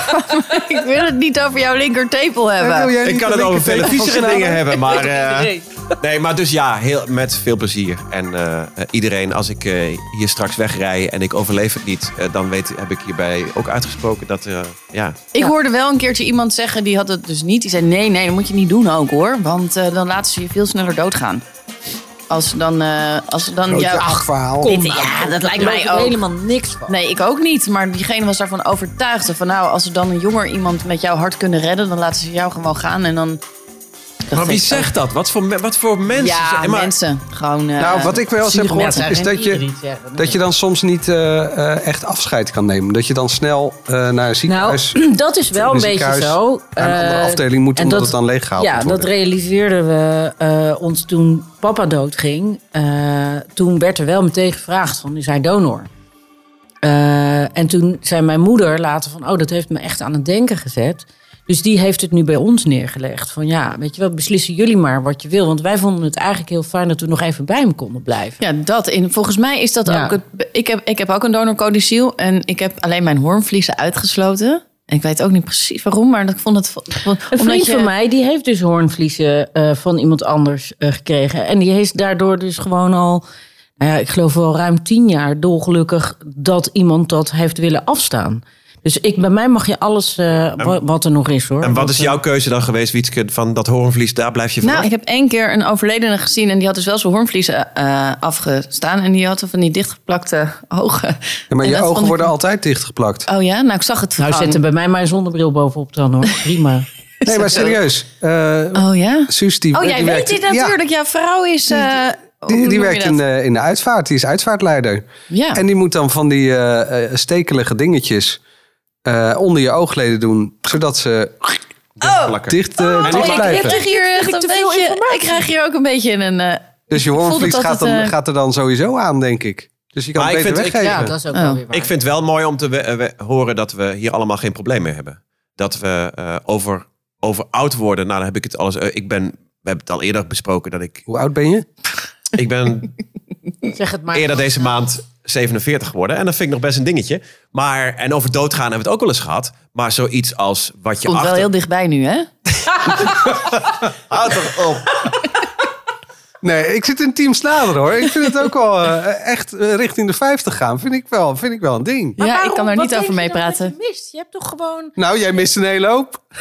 Speaker 2: ik wil het niet over jouw linkertepel hebben.
Speaker 1: Ik kan het over vele viezere dingen hebben, maar... eh, Nee, maar dus ja, heel, met veel plezier. En eh, eh, iedereen, als ik eh, hier straks wegrij en ik overleef het niet... eh, dan weet, heb ik hierbij ook uitgesproken dat... eh, ja.
Speaker 2: Ik hoorde wel een keertje iemand zeggen, die had het dus niet. Die zei, nee, nee, dat moet je niet doen ook hoor. Want eh, dan laten ze je veel sneller doodgaan. Als ze dan... eh, als ze dan ja, ach,
Speaker 4: verhaal.
Speaker 2: dit-
Speaker 5: nou.
Speaker 2: ja, dat lijkt mij ook.
Speaker 5: helemaal niks van.
Speaker 2: Nee, ik ook niet. Maar diegene was daarvan overtuigd. Van nou, als ze dan een jonger iemand met jouw hart kunnen redden... dan laten ze jou gewoon gaan en dan...
Speaker 1: Maar wie zegt dat? Wat voor, me- wat voor mensen?
Speaker 2: Ja,
Speaker 1: zijn- maar,
Speaker 2: mensen. Gewoon... eh,
Speaker 4: Nou, wat ik wel eens heb gehoord, is dat je, dat je dan soms niet eh, eh, echt afscheid kan nemen. Dat je dan snel eh, naar een
Speaker 5: Nou,
Speaker 4: ziekenhuis,
Speaker 5: dat is wel
Speaker 4: In
Speaker 5: een
Speaker 4: een
Speaker 5: beetje
Speaker 4: ziekenhuis,
Speaker 5: zo.
Speaker 4: naar een andere
Speaker 5: Eh,
Speaker 4: afdeling moet,
Speaker 5: en
Speaker 4: omdat
Speaker 5: dat-
Speaker 4: het dan leeggehaald
Speaker 5: Ja,
Speaker 4: moet
Speaker 5: dat
Speaker 4: worden.
Speaker 5: realiseerden we eh, ons toen papa doodging. Eh, toen werd er wel meteen gevraagd van, is hij donor? Eh, en toen zei mijn moeder later van, oh, dat heeft me echt aan het denken gezet. Dus die heeft het nu bij ons neergelegd. Van ja, weet je wel, beslissen jullie maar wat je wil. Want wij vonden het eigenlijk heel fijn dat we nog even bij hem konden blijven.
Speaker 2: Ja, dat in. Volgens mij is dat
Speaker 5: Ja.
Speaker 2: ook. Het, ik, heb, ik heb ook een donorcodiciel en ik heb alleen mijn hoornvliezen uitgesloten. En ik weet ook niet precies waarom, maar ik vond het. vo- ik vond-
Speaker 5: Een
Speaker 2: omdat
Speaker 5: vriend
Speaker 2: je-
Speaker 5: van mij, die heeft dus hoornvliezen eh, van iemand anders eh, gekregen. En die heeft daardoor dus gewoon al, nou ja, ik geloof wel ruim tien jaar dolgelukkig dat iemand dat heeft willen afstaan. Dus ik, bij mij mag je alles eh, wa- wat er nog is hoor.
Speaker 1: En wat is
Speaker 5: eh,
Speaker 1: jouw keuze dan geweest, Wietske? Van dat horenvlies, daar blijf je van
Speaker 2: Nou, ik heb één keer een overledene gezien en die had dus wel zijn hoornvliezen eh, afgestaan. En die had van die dichtgeplakte ogen.
Speaker 4: Ja, maar
Speaker 2: En
Speaker 4: je
Speaker 2: dat vond
Speaker 4: ogen
Speaker 2: ik-
Speaker 4: worden altijd dichtgeplakt.
Speaker 2: Oh ja, nou ik zag het.
Speaker 5: Nou,
Speaker 2: van.
Speaker 5: zet er bij mij maar een zonnebril bovenop dan hoor. Prima.
Speaker 4: Nee, maar serieus. eh,
Speaker 2: Oh ja.
Speaker 4: Suus, die, eh,
Speaker 2: Oh,
Speaker 4: die
Speaker 2: jij weet
Speaker 4: werkt-
Speaker 2: dit
Speaker 4: ja,
Speaker 2: natuurlijk. Ja, vrouw is. eh, hoe
Speaker 4: die,
Speaker 2: noem
Speaker 4: die
Speaker 2: je
Speaker 4: werkt
Speaker 2: dat?
Speaker 4: in, eh, in de uitvaart. Die is uitvaartleider.
Speaker 2: Ja.
Speaker 4: En die moet dan van die eh, eh, stekelige dingetjes eh, onder je oogleden doen. Zodat ze
Speaker 2: oh!
Speaker 4: dicht, eh, dicht
Speaker 2: ik, ik
Speaker 4: blijven.
Speaker 2: krijg hier echt een beetje. Ik krijg hier ook een beetje een. eh,
Speaker 4: Dus je hoornvlies
Speaker 2: dat
Speaker 4: gaat,
Speaker 2: het,
Speaker 4: dan-
Speaker 2: eh,
Speaker 4: gaat er dan sowieso aan, denk ik. Dus je kan
Speaker 1: Maar
Speaker 4: het
Speaker 1: ik
Speaker 4: beter
Speaker 1: vind- ik-
Speaker 4: weggeven.
Speaker 5: Ja, dat is ook
Speaker 2: Oh.
Speaker 5: wel weer waar.
Speaker 1: Ik vind het wel mooi om te we- eh, we- horen dat we hier allemaal geen probleem mee hebben. Dat we eh, over, over oud worden, nou dan heb ik het alles... eh, ik ben, we hebben het al eerder besproken dat ik...
Speaker 4: Hoe oud ben je?
Speaker 1: Ik ben
Speaker 5: Zeg het maar.
Speaker 1: eerder deze maand 47 geworden. En dat vind ik nog best een dingetje. Maar, en over doodgaan hebben we het ook wel eens gehad. Maar zoiets als wat je
Speaker 2: Komt wel
Speaker 1: achter...
Speaker 2: heel dichtbij nu, hè?
Speaker 4: Houd toch op. Nee, ik zit in team Snader hoor. Ik vind het ook wel eh, echt eh, richting de 50 gaan. Vind ik wel, vind ik wel een ding.
Speaker 2: ja, ik kan er niet over
Speaker 5: mee
Speaker 2: meepraten.
Speaker 5: Je, mist? je hebt toch gewoon...
Speaker 4: Nou, jij mist een hele hoop.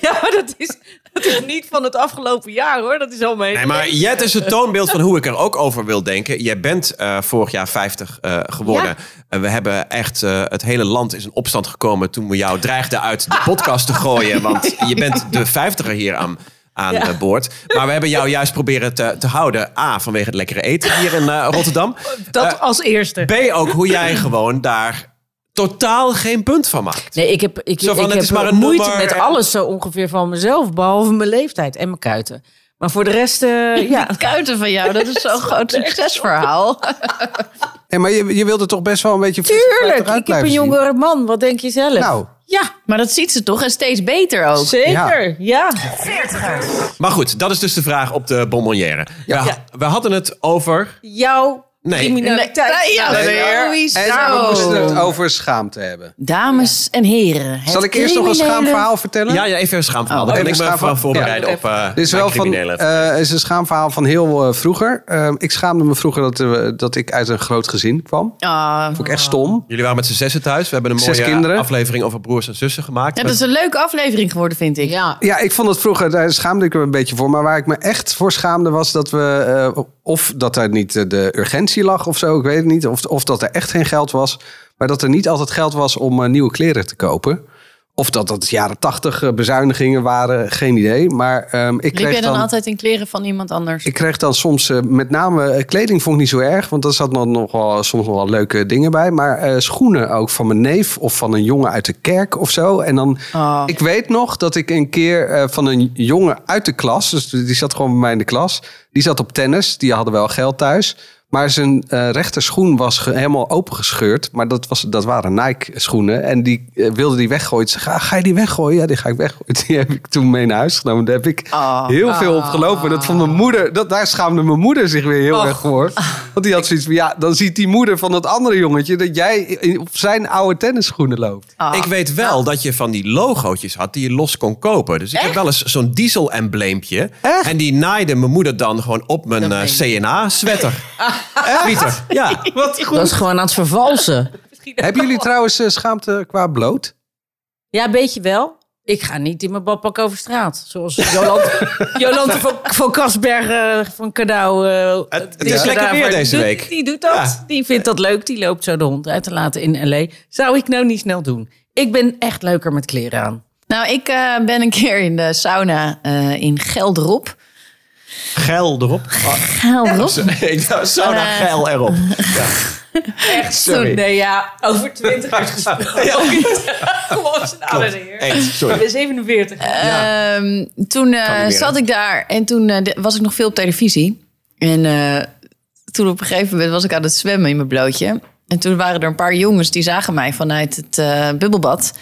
Speaker 5: Ja, maar dat is, dat is niet van het afgelopen jaar hoor. Dat is al mee.
Speaker 1: Nee, maar Jet is het toonbeeld van hoe ik er ook over wil denken. Jij bent eh, vorig jaar 50 eh, geworden. En we hebben echt, eh, het hele land is in opstand gekomen toen we jou dreigden uit de podcast te gooien. Want je bent de 50er hier aan, aan
Speaker 5: Ja.
Speaker 1: eh, boord. Maar we hebben jou juist proberen te, te houden. A, vanwege het lekkere eten hier in eh, Rotterdam.
Speaker 5: dat
Speaker 1: Eh,
Speaker 5: als eerste.
Speaker 1: B, ook hoe jij gewoon daar totaal geen punt van maakt.
Speaker 5: Nee, ik heb, ik,
Speaker 1: Zo van,
Speaker 5: ik
Speaker 1: het
Speaker 5: heb
Speaker 1: is maar een
Speaker 5: moeite
Speaker 1: nummer
Speaker 5: met
Speaker 1: en-
Speaker 5: alles zo ongeveer van mezelf, behalve mijn leeftijd en mijn kuiten. Maar voor de rest, eh, ja.
Speaker 2: Het kuiten van jou, dat is zo'n groot succesverhaal.
Speaker 4: En maar je, je wilde toch best wel een beetje... frisse fruit
Speaker 5: Tuurlijk,
Speaker 4: eruit
Speaker 5: ik heb
Speaker 4: blijven
Speaker 5: een
Speaker 4: zien?
Speaker 5: jongere man. Wat denk je zelf?
Speaker 4: Nou,
Speaker 5: Ja,
Speaker 2: Maar dat ziet ze toch en steeds beter ook.
Speaker 5: zeker. Ja.
Speaker 1: Maar goed, dat is dus de vraag op de bonbonnière.
Speaker 4: Ja.
Speaker 1: We, we hadden het over...
Speaker 5: Jouw
Speaker 1: Nee.
Speaker 5: criminaliteit.
Speaker 2: Nee, ja,
Speaker 5: Nou,
Speaker 2: nee.
Speaker 5: weer.
Speaker 4: en
Speaker 2: Zo.
Speaker 5: Nou.
Speaker 4: we moesten het over schaamte hebben.
Speaker 2: Dames en heren. het
Speaker 4: Zal ik eerst nog een
Speaker 2: criminele-
Speaker 4: schaamverhaal vertellen?
Speaker 1: Ja, ja, even een schaamverhaal.
Speaker 4: Oh,
Speaker 1: Dan kan
Speaker 4: even
Speaker 1: ik me
Speaker 4: schaamverhaal.
Speaker 1: even voorbereiden
Speaker 4: Ja.
Speaker 1: op eh
Speaker 4: Dit is
Speaker 1: mijn
Speaker 4: wel van,
Speaker 1: criminelen.
Speaker 4: eh, is een schaamverhaal van heel eh, vroeger. Eh, ik schaamde me vroeger dat, eh, dat ik uit een groot gezin kwam.
Speaker 2: Ah.
Speaker 4: Vond ik echt stom.
Speaker 1: Jullie waren met z'n zessen thuis. We hebben een
Speaker 4: Zes
Speaker 1: mooie
Speaker 4: kinderen.
Speaker 1: aflevering over broers en zussen gemaakt.
Speaker 2: Ja, dat is een leuke aflevering geworden, vind ik.
Speaker 5: Ja.
Speaker 4: Ja, ik vond het vroeger, daar schaamde ik me een beetje voor. Maar waar ik me echt voor schaamde was dat we... eh, of dat er niet eh, de urgentie lag of zo, ik weet het niet. Of, of dat er echt geen geld was. Maar dat er niet altijd geld was om eh, nieuwe kleren te kopen. Of dat dat jaren tachtig eh, bezuinigingen waren, geen idee. Maar ehm, ik kreeg
Speaker 2: Liep jij dan,
Speaker 4: dan
Speaker 2: altijd in kleren van iemand anders?
Speaker 4: Ik kreeg dan soms, eh, met name eh, kleding vond ik niet zo erg, want daar zat nog, nog wel, soms nog wel leuke dingen bij. Maar eh, schoenen ook van mijn neef of van een jongen uit de kerk of zo. En dan,
Speaker 2: Oh.
Speaker 4: ik weet nog dat ik een keer eh, van een jongen uit de klas, dus die zat gewoon bij mij in de klas, die zat op tennis, die hadden wel geld thuis. Maar zijn eh rechterschoen was ge- helemaal opengescheurd. Maar dat, was, dat waren Nike-schoenen. En die eh, wilde die weggooien. Ik zei, ga, ga je die weggooien? Ja, die ga ik weggooien. Die heb ik toen mee naar huis genomen. Daar heb ik
Speaker 2: Oh.
Speaker 4: heel veel op gelopen. Dat vond mijn moeder, dat, daar schaamde mijn moeder zich weer heel erg voor. Want die had zoiets van, ja, dan ziet die moeder van dat andere jongetje... dat jij in- op zijn oude tennisschoenen loopt.
Speaker 2: Ah.
Speaker 1: Ik weet wel dat je van die logootjes had die je los kon kopen. Dus ik heb wel eens zo'n diesel-embleempje.
Speaker 4: Echt?
Speaker 1: En die naaide mijn moeder dan gewoon op mijn
Speaker 2: Dat
Speaker 1: eh,
Speaker 2: meen je.
Speaker 1: CNA-sweater. Pieter, ja.
Speaker 4: Wat
Speaker 5: Dat is gewoon aan het vervalsen.
Speaker 4: Hebben jullie trouwens eh, schaamte qua bloot?
Speaker 5: Ja, weet je wel. Ik ga niet in mijn badpak over straat. Zoals Jolante, Jolante van, van Kasberg eh, van Kadau. eh,
Speaker 1: Het- het
Speaker 5: die
Speaker 1: is lekker
Speaker 5: daarvoor
Speaker 1: weer deze
Speaker 5: doet-
Speaker 1: week.
Speaker 5: Die doet dat.
Speaker 1: Ja.
Speaker 5: Die vindt dat leuk. Die loopt zo de hond uit te laten in L.A. Zou ik nou niet snel doen. Ik ben echt leuker met kleren aan.
Speaker 2: Nou, ik eh, ben een keer in de sauna eh, in Gelderop.
Speaker 1: Geil erop.
Speaker 2: Gelderop?
Speaker 1: Ik dacht, sauna
Speaker 2: Eh.
Speaker 1: nou, geil erop.
Speaker 5: Echt
Speaker 1: sorry.
Speaker 5: Nee, ja, over 20 jaar gesproken. Ja, Gewoon zijn oude heer.
Speaker 1: Eens,
Speaker 5: Ik
Speaker 1: sorry.
Speaker 5: ben 47.
Speaker 2: Ehm, toen eh,
Speaker 1: Kan niet meer,
Speaker 2: zat ik daar en toen eh, de- was ik nog veel op televisie. En eh, toen op een gegeven moment was ik aan het zwemmen in mijn blootje. En toen waren er een paar jongens die zagen mij vanuit het eh, bubbelbad.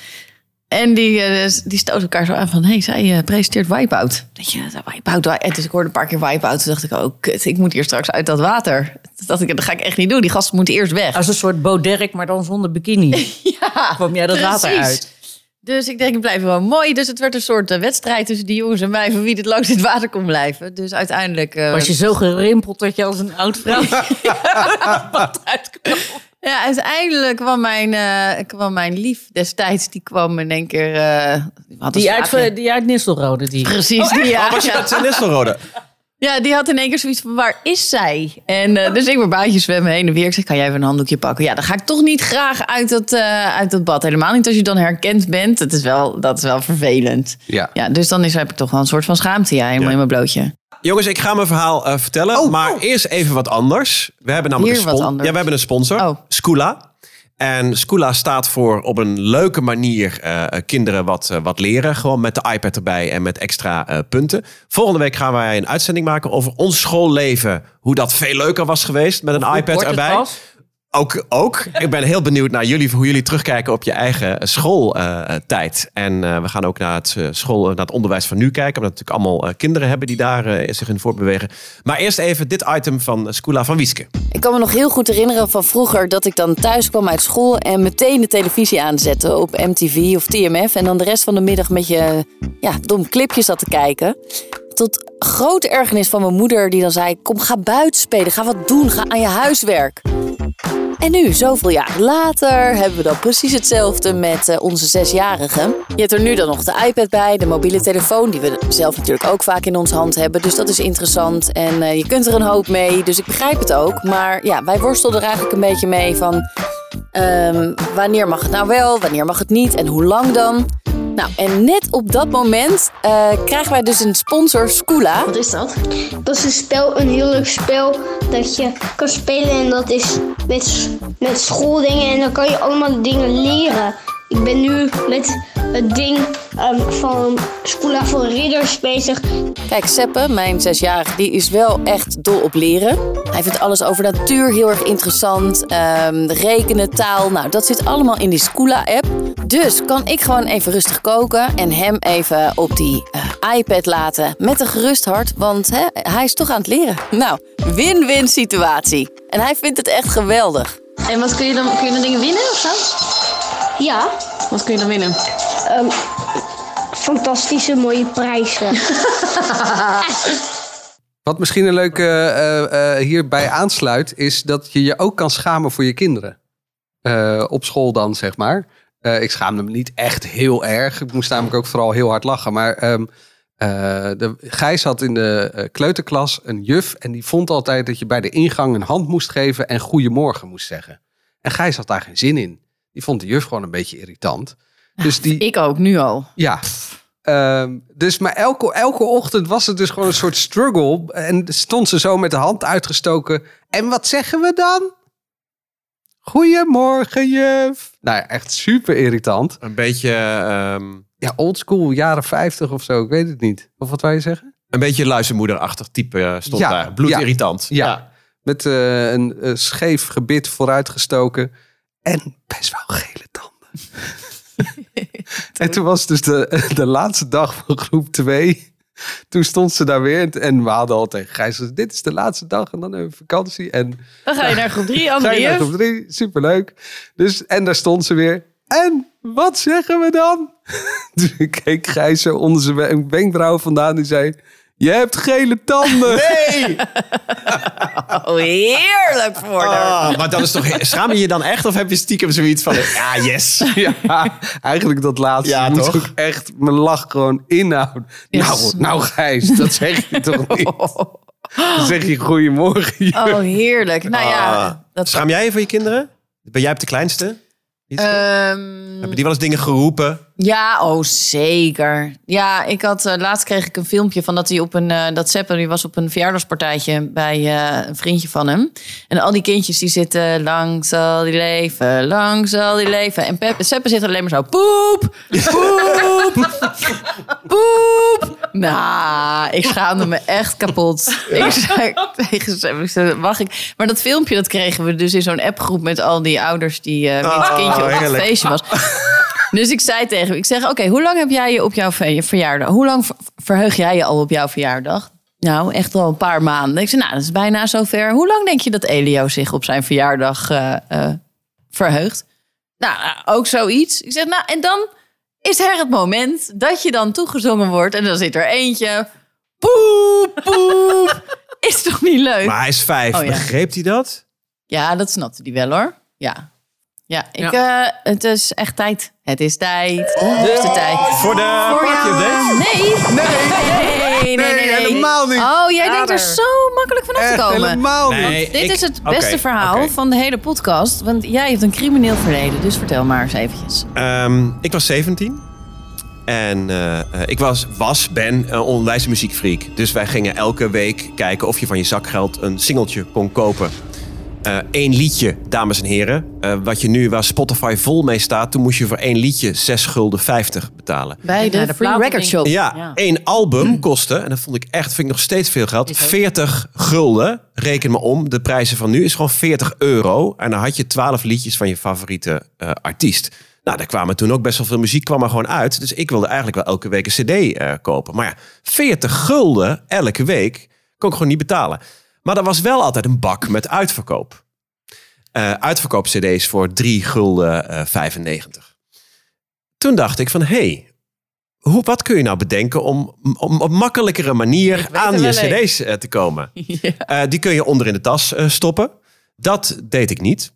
Speaker 2: En die, eh, s- die stoten elkaar zo aan van... hé, hey, zij eh, presenteert Wipeout. Weet je, dat Wipeout, Wi- En dus ik hoorde een paar keer Wipeout. Toen dacht ik, oh kut, ik moet hier straks uit dat water. Toen dacht ik, dat ga ik echt niet doen. Die gasten moeten eerst weg.
Speaker 5: Als een soort Bo Derek, maar dan zonder bikini.
Speaker 2: Ja,
Speaker 5: Kwam jij dat water
Speaker 2: precies.
Speaker 5: uit?
Speaker 2: Dus ik denk, ik blijf wel mooi. Dus het werd een soort eh, wedstrijd tussen die jongens en mij... van wie het langst in het water kon blijven. Dus uiteindelijk... eh,
Speaker 5: Was je zo gerimpeld dat je als een oud vrouw wat uitkwam?
Speaker 2: Ja, uiteindelijk kwam mijn, eh, kwam mijn lief destijds... die kwam in één keer... eh, die had een
Speaker 5: Die uit, eh,
Speaker 2: slaapje.
Speaker 5: die uit Nistelrode, die.
Speaker 2: Precies, die, ja,
Speaker 1: Oh, was je
Speaker 2: ja.
Speaker 1: dat eh, Nistelrode?
Speaker 2: Ja, die had in één keer zoiets van, waar is zij? En eh, dus ik mijn baantje zwemmen heen en weer. Ik zeg, kan jij even een handdoekje pakken? Ja, dan ga ik toch niet graag uit dat, eh, uit dat bad. Helemaal niet als je dan herkend bent. Dat is wel, dat is wel vervelend.
Speaker 4: Ja.
Speaker 2: Ja, dus dan is, heb ik toch wel een soort van schaamte, ja, helemaal
Speaker 1: Ja.
Speaker 2: in mijn blootje.
Speaker 1: Jongens, ik ga mijn verhaal eh, vertellen. maar eerst even wat anders. We hebben namelijk
Speaker 2: Oh, Hier
Speaker 1: een
Speaker 2: wat
Speaker 1: spon-
Speaker 2: anders.
Speaker 1: Ja, we hebben een sponsor.
Speaker 2: Oh.
Speaker 1: Scula. En Scula staat voor op een leuke manier eh, eh, kinderen wat, eh, wat leren. Gewoon met de iPad erbij en met extra eh, punten. Volgende week gaan wij een uitzending maken over ons schoolleven. Hoe dat veel leuker was geweest met een iPad
Speaker 5: kort het
Speaker 1: erbij.
Speaker 5: was.
Speaker 1: Ook, ook. Ik ben heel benieuwd naar jullie, hoe jullie terugkijken op je eigen eh, schooltijd. en eh, we gaan ook naar het, eh, school, naar het onderwijs van nu kijken. Omdat we natuurlijk allemaal eh, kinderen hebben die daar eh, zich in voortbewegen. Maar eerst even dit item van Skoola van Wieske.
Speaker 7: Ik kan me nog heel goed herinneren van vroeger dat ik dan thuis kwam uit school en meteen de televisie aanzette op MTV of TMF. En dan de rest van de middag met je ja, dom clipje zat te kijken. Tot grote ergernis van mijn moeder die dan zei, kom ga buiten spelen, ga wat doen, ga aan je huiswerk. En nu, zoveel jaren later, hebben we dan precies hetzelfde met eh, onze zesjarigen. Je hebt er nu dan nog de iPad bij, de mobiele telefoon, die we zelf natuurlijk ook vaak in onze hand hebben. Dus dat is interessant en eh, je kunt er een hoop mee, dus ik begrijp het ook. Maar ja, wij worstelden er eigenlijk een beetje mee van ehm, wanneer mag het nou wel, wanneer mag het niet en hoe lang dan. Nou, en net op dat moment eh, krijgen wij dus een sponsor, Scoola.
Speaker 8: Wat is dat?
Speaker 9: Dat is een spel, een heel leuk spel dat je kan spelen en dat is met, met schooldingen en dan kan je allemaal dingen leren. Ik ben nu met het ding ehm, van Schoela voor Ridders bezig.
Speaker 7: Kijk, Seppe, mijn zesjarige, die is wel echt dol op leren. Hij vindt alles over natuur heel erg interessant. ehm, rekenen, taal, nou dat zit allemaal in die Scoola-app. Dus kan ik gewoon even rustig koken en hem even op die eh, iPad laten met een gerust hart. Want hè, hij is toch aan het leren. Nou, win-win situatie. En hij vindt het echt geweldig.
Speaker 8: En wat kun je dan? Kun je dan dingen winnen of zo?
Speaker 9: Ja,
Speaker 8: Wat kun je dan winnen?
Speaker 9: fantastische mooie prijzen.
Speaker 4: Wat misschien een leuke eh, eh, hierbij aansluit, is dat je je ook kan schamen voor je kinderen. Eh, op school dan, zeg maar. Eh, ik schaamde me niet echt heel erg. Ik moest namelijk ook vooral heel hard lachen. Maar ehm, eh, de, Gijs had in de eh, kleuterklas een juf. En die vond altijd dat je bij de ingang een hand moest geven en goedemorgen moest zeggen. En Gijs had daar geen zin in. Die vond de juf gewoon een beetje irritant. Dus die,
Speaker 2: Ik ook, nu al.
Speaker 4: ja. Ehm, dus maar elke, elke ochtend was het dus gewoon een soort struggle. En stond ze zo met de hand uitgestoken. En wat zeggen we dan? Goedemorgen, juf. Nou ja, echt super irritant.
Speaker 1: Een beetje, ehm,
Speaker 4: Ja, oldschool, jaren 50 of zo. Ik weet het niet. Of wat wij zeggen?
Speaker 1: een beetje luistermoederachtig type eh, stond
Speaker 4: Ja,
Speaker 1: daar. Bloedirritant.
Speaker 4: Ja. Met eh, een eh, scheef gebit vooruitgestoken. En best wel gele tanden. en toen was dus de, de laatste dag van groep 2. Toen stond ze daar weer. En we hadden al tegen Gijs gezegd, dit is de laatste dag en dan hebben we vakantie. En
Speaker 2: Dan ga je naar groep drie,
Speaker 4: Gijs
Speaker 2: andere
Speaker 4: naar
Speaker 2: juf.
Speaker 4: groep 3, superleuk. Dus, en daar stond ze weer. En wat zeggen we dan? Toen keek Gijs zo onder zijn we- wenkbrauw vandaan. Die zei, je hebt gele tanden. Nee!
Speaker 2: Oh, heerlijk voor haar.
Speaker 1: Ah, maar dat is toch, schaam je je dan echt of heb je stiekem zoiets van, eh, ja yes.
Speaker 4: Ja, eigenlijk dat laatste
Speaker 1: Ja,
Speaker 4: moet
Speaker 1: toch?
Speaker 4: ook echt mijn lach gewoon inhouden.
Speaker 2: Yes.
Speaker 4: Nou, nou Gijs, dat zeg je toch niet? Dan zeg je goedemorgen. juf.
Speaker 2: Oh, heerlijk. Nou
Speaker 1: Ah.
Speaker 2: ja, dat...
Speaker 1: Schaam jij je voor je kinderen? Ben jij op de kleinste? Niet?
Speaker 2: Ehm,
Speaker 1: Hebben die wel eens dingen geroepen?
Speaker 2: Ja, oh zeker. Ja, ik had eh, laatst kreeg ik een filmpje van dat hij op een eh dat Sepp, die was op een verjaardagspartijtje bij eh, een vriendje van hem. En al die kindjes die zitten lang zal die leven, lang zal die leven. En Pep, Sepp zit alleen maar zo poep, poep, poep. Nou, ik schaamde me echt kapot. Ik zei tegen Sepp, ik zei, mag ik? Maar dat filmpje dat kregen we dus in zo'n appgroep met al die ouders die eh met het kindje op het
Speaker 1: heerlijk.
Speaker 2: feestje was. Dus ik zei tegen hem, ik zeg, oké, hoe lang heb jij je op jouw ve- verjaardag? Hoe lang ver- verheug jij je al op jouw verjaardag? Nou, echt al een paar maanden. Ik zei, nou, dat is bijna zover. Hoe lang denk je dat Elio zich op zijn verjaardag eh, eh, verheugt? Nou, eh, ook zoiets. Ik zeg, nou, en dan is er het moment dat je dan toegezongen wordt. En dan zit er eentje, poep, poep. is toch niet leuk?
Speaker 1: Maar hij is vijf.
Speaker 2: Oh, ja.
Speaker 1: Begreep hij dat?
Speaker 2: Ja, dat snapte die wel hoor. Ja. Ja, ik, eh, het is echt tijd. Het is tijd. Het is de tijd.
Speaker 1: Oh. Voor de
Speaker 2: Voor
Speaker 1: pakje
Speaker 2: jou.
Speaker 1: update.
Speaker 2: Nee. Nee, nee, nee, nee, nee.
Speaker 4: helemaal niet.
Speaker 2: Oh, jij denkt er zo makkelijk vanaf te
Speaker 4: Echt
Speaker 2: komen.
Speaker 4: helemaal niet.
Speaker 1: Nee,
Speaker 2: Dit
Speaker 1: ik-
Speaker 2: is het
Speaker 1: oké,
Speaker 2: beste verhaal
Speaker 1: oké.
Speaker 2: van de hele podcast. Want jij hebt een crimineel verleden. Dus vertel maar eens eventjes.
Speaker 1: Ehm, ik was 17. En eh, eh, ik was, was, ben een onwijs muziekfreak. Dus wij gingen elke week kijken of je van je zakgeld een singeltje kon kopen. eh, één liedje, dames en heren. Eh, wat je nu, waar Spotify vol mee staat, toen moest je voor één liedje 6 gulden 50 betalen.
Speaker 2: Bij de,
Speaker 5: Naar de
Speaker 2: Free Record
Speaker 5: platenwinkel.
Speaker 2: Shop.
Speaker 1: Ja, één album kostte, en dat vond ik echt, vind ik nog steeds veel geld, 40 gulden. Reken me om, de prijzen van nu is gewoon 40 euro. En dan had je 12 liedjes van je favoriete eh, artiest. Nou, daar kwamen toen ook best wel veel muziek, kwam er gewoon uit. Dus ik wilde eigenlijk wel elke week een cd eh, kopen. Maar ja, 40 gulden elke week kon ik gewoon niet betalen. Maar er was wel altijd een bak met uitverkoop. Eh uitverkoop cd's voor 3 gulden eh, 95. Toen dacht ik van, hé, hey, hoe, wat kun je nou bedenken om om op een makkelijkere manier aan je
Speaker 2: er wel
Speaker 1: cd's eh, te komen? Eh, die kun je onder in de tas eh, stoppen. Dat deed ik niet.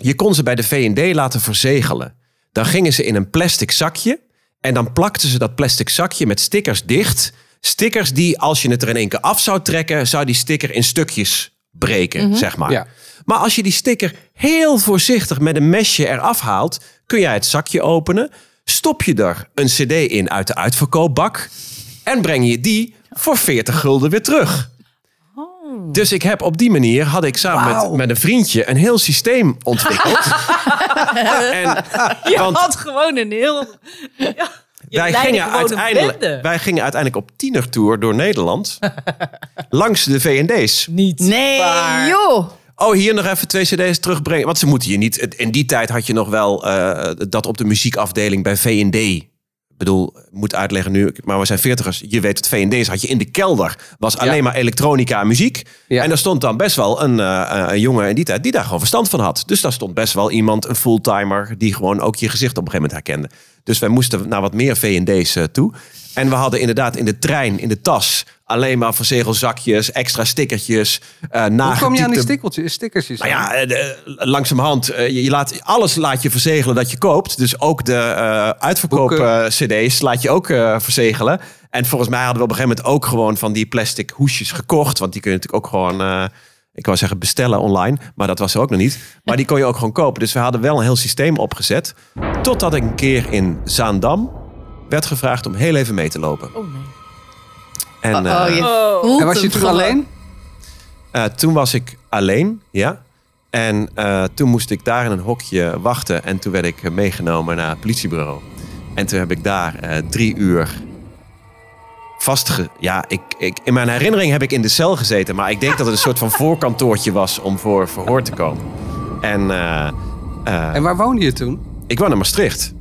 Speaker 1: Je kon ze bij de V&D laten verzegelen. Dan gingen ze in een plastic zakje en dan plakten ze dat plastic zakje met stickers dicht. Stickers die, als je het er in één keer af zou trekken, zou die sticker in stukjes breken, zeg maar.
Speaker 4: Ja.
Speaker 1: Maar als je die sticker heel voorzichtig met een mesje eraf haalt, kun jij het zakje openen. Stop je er een CD in uit de uitverkoopbak en breng je die voor 40 gulden weer terug. Dus ik heb op die manier had ik samen met, met een vriendje een heel systeem ontwikkeld. en, want
Speaker 5: had gewoon een heel...
Speaker 1: wij
Speaker 5: leidde
Speaker 1: gingen,
Speaker 5: gewoon een
Speaker 1: uiteindelijk,
Speaker 5: bende.
Speaker 1: wij gingen uiteindelijk op tienertour door Nederland. langs de V&D's.
Speaker 5: Niet.
Speaker 2: Nee, joh.
Speaker 1: Oh, hier nog even twee cd's terugbrengen. Want ze moeten je niet... In die tijd had je nog wel eh, dat op de muziekafdeling bij V&D. Ik bedoel, ik moet uitleggen nu, maar we zijn veertigers. Je weet wat V&D is. Had je in de kelder. Was alleen maar elektronica en muziek.
Speaker 4: Ja.
Speaker 1: En daar stond dan best wel een, eh, een jongen in die tijd die daar gewoon verstand van had. Dus daar stond best wel iemand, een fulltimer, die gewoon ook je gezicht op een gegeven moment herkende. Dus wij moesten naar wat meer V&D's eh, toe. En we hadden inderdaad in de trein, in de tas, alleen maar verzegelzakjes, extra stickertjes, eh
Speaker 4: Hoe kwam je aan die
Speaker 1: nagetypte
Speaker 4: stickeltjes, stickertjes?
Speaker 1: nou ja, eh, de- langzamerhand, eh, je je laat, alles laat je verzegelen dat je koopt. Dus ook de eh
Speaker 4: Boeken.
Speaker 1: uitverkoop-cd's laat je ook eh, verzegelen. En volgens mij hadden we op een gegeven moment ook gewoon van die plastic hoesjes gekocht. Want die kun je natuurlijk ook gewoon, eh, ik wou zeggen bestellen online. Maar dat was er ook nog niet. Maar die kon je ook gewoon kopen. Dus we hadden wel een heel systeem opgezet. Totdat ik een keer in Zaandam werd gevraagd om heel even mee te lopen.
Speaker 5: Oh, nee.
Speaker 1: En,
Speaker 2: oh,
Speaker 1: eh,
Speaker 2: je voelt
Speaker 4: en was je
Speaker 2: hem
Speaker 4: toen
Speaker 2: gewoon.
Speaker 4: alleen?
Speaker 1: eh, toen was ik alleen, ja. En eh, toen moest ik daar in een hokje wachten. En toen werd ik eh, meegenomen naar het politiebureau. En toen heb ik daar eh, drie uur vastge... Ja, ik, ik, in mijn herinnering heb ik in de cel gezeten. Maar ik denk dat het een soort van voorkantoortje was om voor verhoor te komen. En eh, eh,
Speaker 4: En waar woonde je toen?
Speaker 1: ik woon in Maastricht.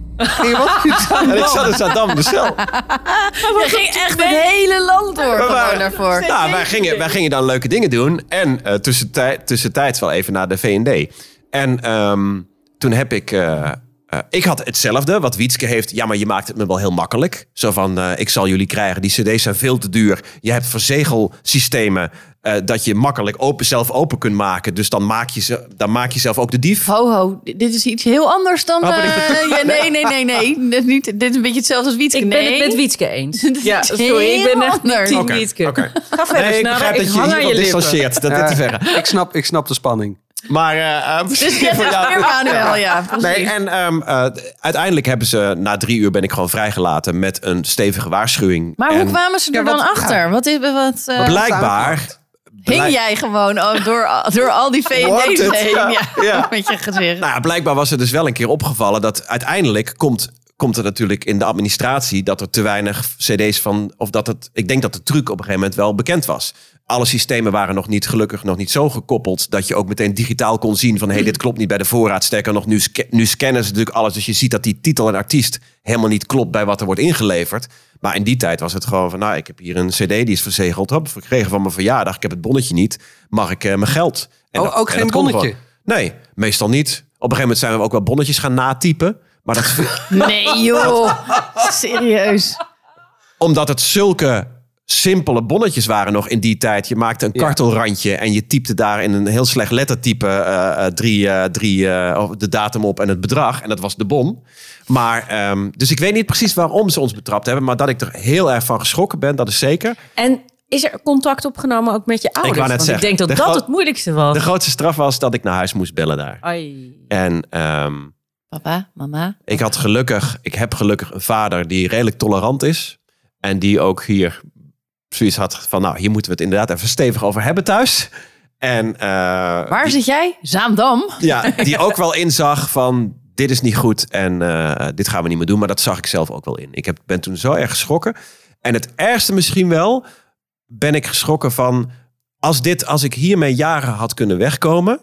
Speaker 4: Nee, wat
Speaker 1: En ik zat dus in Zaandam in de cel.
Speaker 2: Je ging echt het hele land door
Speaker 1: We
Speaker 2: gewoon
Speaker 1: waren-
Speaker 2: daarvoor.
Speaker 1: Nou, wij gingen, wij gingen dan leuke dingen doen. En eh tussentij- tussentijds wel even naar de V&D. En ehm, toen heb ik... eh, eh, ik had hetzelfde, wat Wietske heeft. Ja, maar je maakt het me wel heel makkelijk. Zo van, eh, ik zal jullie krijgen. Die cd's zijn veel te duur. Je hebt verzegelsystemen eh, dat je makkelijk open, zelf open kunt maken. Dus dan maak je, ze, dan maak je zelf ook de dief.
Speaker 2: Ho, ho, dit dit is iets heel anders dan...
Speaker 1: Oh, maar ik
Speaker 2: eh, ja, nee, nee, nee, nee. Dit, is niet, dit is een beetje hetzelfde als Wietke.
Speaker 5: Ik ben
Speaker 2: nee.
Speaker 5: het met Wietske eens. Ja,
Speaker 2: is
Speaker 5: sorry, ik ben
Speaker 2: heel
Speaker 5: echt niet
Speaker 2: anders.
Speaker 5: team
Speaker 1: Oké,
Speaker 5: Wietske.
Speaker 1: oké.
Speaker 5: Ga verder,
Speaker 1: Nee, ik
Speaker 5: Snarre,
Speaker 1: begrijp dat je
Speaker 5: hang
Speaker 1: hier
Speaker 5: aan
Speaker 1: wat
Speaker 5: lippen.
Speaker 1: distancieert. Dat dit te verre.
Speaker 4: ik, snap, ik snap de spanning.
Speaker 1: Maar eh, eh,
Speaker 5: Dus
Speaker 1: misschien
Speaker 2: Dus Ja,
Speaker 1: voor
Speaker 2: dat
Speaker 1: jou.
Speaker 2: is weer Manuel, ja. precies.
Speaker 1: Nee, en ehm, eh, uiteindelijk hebben ze, na drie uur ben ik gewoon vrijgelaten met een stevige waarschuwing.
Speaker 2: Maar
Speaker 1: en
Speaker 2: hoe kwamen ze er
Speaker 4: Ja,
Speaker 2: dan
Speaker 4: wat-
Speaker 2: achter? Wat is, wat, eh,
Speaker 1: Blijkbaar.
Speaker 2: hing
Speaker 1: blijk-
Speaker 2: jij gewoon oh, door, door al die
Speaker 1: Wordt
Speaker 2: V&D's
Speaker 1: het,
Speaker 2: heen?
Speaker 1: ja,
Speaker 2: Ja,
Speaker 1: ja.
Speaker 2: Met je gezicht.
Speaker 1: Nou ja, blijkbaar was het dus wel een keer opgevallen dat uiteindelijk komt, komt er natuurlijk in de administratie dat er te weinig CD's van. Of dat het. Ik denk dat de truc op een gegeven moment wel bekend was. Alle systemen waren nog niet, gelukkig nog niet zo gekoppeld. dat je ook meteen digitaal kon zien van. hé, hey, dit klopt niet bij de voorraad. Sterker nog, nu, sca- nu scannen ze natuurlijk alles. Dus je ziet dat die titel en artiest helemaal niet klopt bij wat er wordt ingeleverd. Maar in die tijd was het gewoon van. Nou, ik heb hier een CD die is verzegeld. Heb ik gekregen van mijn verjaardag. Ik heb het bonnetje niet. Mag ik eh, mijn geld? En
Speaker 4: Oh, ook
Speaker 1: en
Speaker 4: geen
Speaker 1: kon
Speaker 4: bonnetje?
Speaker 1: gewoon. Nee, meestal niet. Op een gegeven moment zijn we ook wel bonnetjes gaan natypen. Maar dat,
Speaker 2: Nee, joh. Serieus.
Speaker 1: omdat het zulke simpele bonnetjes waren nog in die tijd. Je maakte een kartelrandje en je typte daar in een heel slecht lettertype eh, eh, drie, eh, drie, eh, of de datum op en het bedrag. En dat was de bon. Maar, ehm, dus ik weet niet precies waarom ze ons betrapt hebben. Maar dat ik er heel erg van geschrokken ben, dat is zeker.
Speaker 5: En is er contact opgenomen ook met je ouders?
Speaker 1: wou net
Speaker 5: Want
Speaker 1: zeggen,
Speaker 5: ik denk
Speaker 1: de
Speaker 5: dat dat
Speaker 1: gro-
Speaker 5: het moeilijkste was.
Speaker 1: De grootste straf was dat ik naar huis moest bellen daar.
Speaker 5: Ai.
Speaker 1: En ehm,
Speaker 2: Papa, mama.
Speaker 1: Ik had gelukkig, ik heb gelukkig een vader die redelijk tolerant is. En die ook hier zoiets had van, nou, hier moeten we het inderdaad even stevig over hebben thuis. En eh,
Speaker 2: Waar zit jij? Zaandam.
Speaker 1: ja, die ook wel inzag van dit is niet goed en eh, dit gaan we niet meer doen. Maar dat zag ik zelf ook wel in. Ik heb, ben toen zo erg geschrokken. En het ergste misschien wel, ben ik geschrokken van als, dit, als ik hiermee jaren had kunnen wegkomen,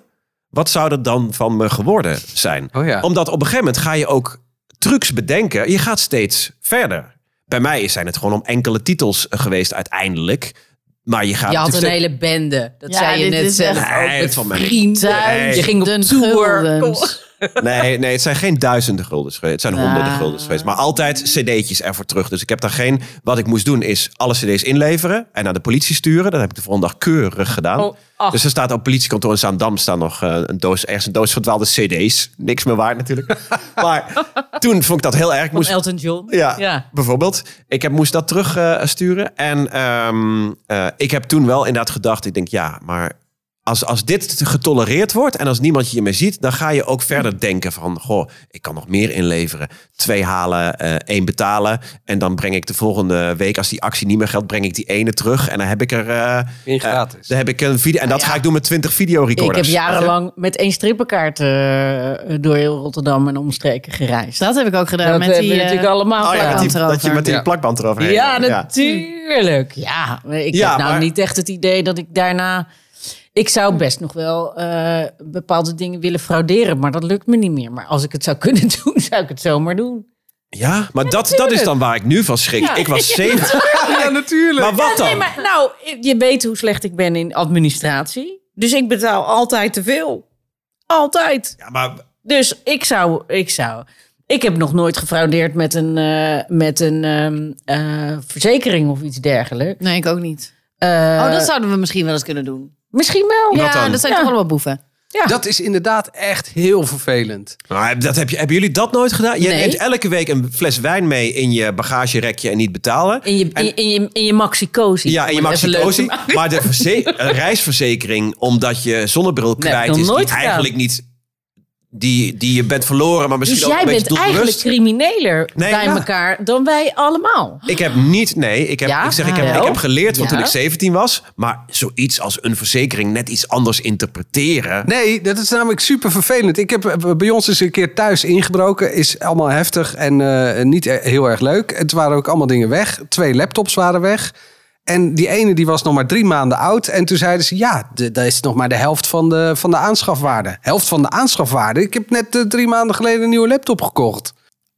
Speaker 1: wat zou er dan van me geworden zijn?
Speaker 4: Oh ja.
Speaker 1: Omdat op een gegeven moment ga je ook trucs bedenken. Je gaat steeds verder. Bij mij zijn het gewoon om enkele titels eh, geweest uiteindelijk. Maar je gaat
Speaker 5: je had een
Speaker 1: natuurlijk
Speaker 5: hele bende. Dat
Speaker 2: Ja,
Speaker 5: zei je
Speaker 2: dit
Speaker 5: net
Speaker 2: is
Speaker 5: zelf.
Speaker 2: echt-
Speaker 1: Nee,
Speaker 5: Ook
Speaker 1: het
Speaker 5: met
Speaker 1: valt mee.
Speaker 5: vrienden.
Speaker 1: Nee.
Speaker 5: Je ging op
Speaker 2: Duizenden Dus
Speaker 5: tour.
Speaker 2: guldens.
Speaker 5: Kom.
Speaker 1: Nee, nee, het zijn geen duizenden guldens geweest. Het
Speaker 5: Ah.
Speaker 1: zijn honderden guldens geweest. Maar altijd cd'tjes ervoor terug. Dus ik heb daar geen... Wat ik moest doen is alle cd's inleveren en naar de politie sturen. Dat heb ik de volgende dag keurig gedaan.
Speaker 5: Oh, ach.
Speaker 1: Dus er staat op het politiekantoor in Zaandam staan nog eh, een doos, ergens een doos verdwaalde cd's. Niks meer waard natuurlijk. maar toen vond ik dat heel erg. Ik
Speaker 5: Van
Speaker 1: moest
Speaker 5: Elton John.
Speaker 1: ja,
Speaker 5: Ja.
Speaker 1: bijvoorbeeld. Ik heb, moest dat terugsturen. en ehm, eh, ik heb toen wel inderdaad gedacht, ik denk ja, maar als, als dit getolereerd wordt en als niemand je meer ziet, dan ga je ook verder denken van, goh, ik kan nog meer inleveren. Twee halen, eh, één betalen. En dan breng ik de volgende week, als die actie niet meer geldt, breng ik die ene terug. En dan heb ik er... eh,
Speaker 4: Eén
Speaker 1: eh,
Speaker 4: gratis.
Speaker 1: dan heb ik een video. En dat ga ik doen met 20 videorecorders.
Speaker 5: Ah, Ik heb jarenlang met één strippenkaart eh, door heel Rotterdam en omstreken gereisd.
Speaker 2: Dat heb ik ook gedaan
Speaker 5: Dat
Speaker 2: met die...
Speaker 5: hebben
Speaker 2: eh,
Speaker 5: we natuurlijk allemaal
Speaker 1: Oh ja, met die,
Speaker 2: plakband
Speaker 1: dat je met die
Speaker 4: erover.
Speaker 1: plakband eroverheen.
Speaker 5: Ja, natuurlijk. Ja, maar ik
Speaker 1: Ja,
Speaker 5: heb nou
Speaker 1: maar-
Speaker 5: niet echt het idee dat ik daarna... Ik zou best nog wel eh, bepaalde dingen willen frauderen, maar dat lukt me niet meer. Maar als ik het zou kunnen doen, zou ik het zomaar doen.
Speaker 1: Ja, maar dat, dat is dan waar ik nu van schrik. Ik was 70.
Speaker 4: Ja, natuurlijk.
Speaker 1: Maar wat dan?
Speaker 5: Nee, maar nou, je weet hoe slecht ik ben in administratie. Dus ik betaal altijd te veel. Altijd.
Speaker 1: Ja, maar
Speaker 5: Dus ik zou, ik zou. Ik heb nog nooit gefraudeerd met een, eh, met een ehm, eh, verzekering of iets dergelijks.
Speaker 2: Nee, ik ook niet.
Speaker 5: Eh,
Speaker 2: oh, dat zouden we misschien wel eens kunnen doen.
Speaker 5: Misschien wel.
Speaker 1: Wat
Speaker 2: Ja,
Speaker 1: dan?
Speaker 2: dat zijn
Speaker 5: Ja.
Speaker 2: toch allemaal boeven.
Speaker 4: Dat is inderdaad echt heel vervelend.
Speaker 1: Maar dat heb je, hebben jullie dat nooit gedaan? Je
Speaker 5: Nee.
Speaker 1: neemt elke week een fles wijn mee in je bagagerekje en niet betalen.
Speaker 5: In je, in, in je, in je maxi-cozy.
Speaker 1: Ja, en je
Speaker 5: Om het
Speaker 1: mag
Speaker 5: even leuk te
Speaker 1: psychosie.
Speaker 5: maken.
Speaker 1: Maar de verze- een reisverzekering, omdat je zonnebril
Speaker 5: heb ik
Speaker 1: kwijt
Speaker 5: nog
Speaker 1: is,
Speaker 5: nooit
Speaker 1: die
Speaker 5: gedaan.
Speaker 1: eigenlijk niet... Die, die je bent verloren, maar misschien
Speaker 5: Dus
Speaker 1: ook
Speaker 5: jij
Speaker 1: een beetje
Speaker 5: bent eigenlijk
Speaker 1: doelbewust.
Speaker 5: crimineler
Speaker 1: Nee,
Speaker 5: bij
Speaker 1: ja.
Speaker 5: elkaar dan wij allemaal.
Speaker 1: Ik heb niet, nee, ik heb,
Speaker 5: Ja? Ah,
Speaker 1: ik zeg, ik heb,
Speaker 5: Wel?
Speaker 1: ik heb geleerd van
Speaker 5: Ja.
Speaker 1: toen ik 17 was. Maar zoiets als een verzekering net iets anders interpreteren.
Speaker 4: Nee, dat is namelijk super vervelend. Ik heb eh, bij ons is een keer thuis ingebroken. Is allemaal heftig en eh, niet e- heel erg leuk. Het waren ook allemaal dingen weg. Twee laptops waren weg. En die ene die was nog maar drie maanden oud. En toen zeiden ze, ja, de- dat is nog maar de helft van de, van de aanschafwaarde. Helft van de aanschafwaarde? Ik heb net eh, drie maanden geleden een nieuwe laptop gekocht.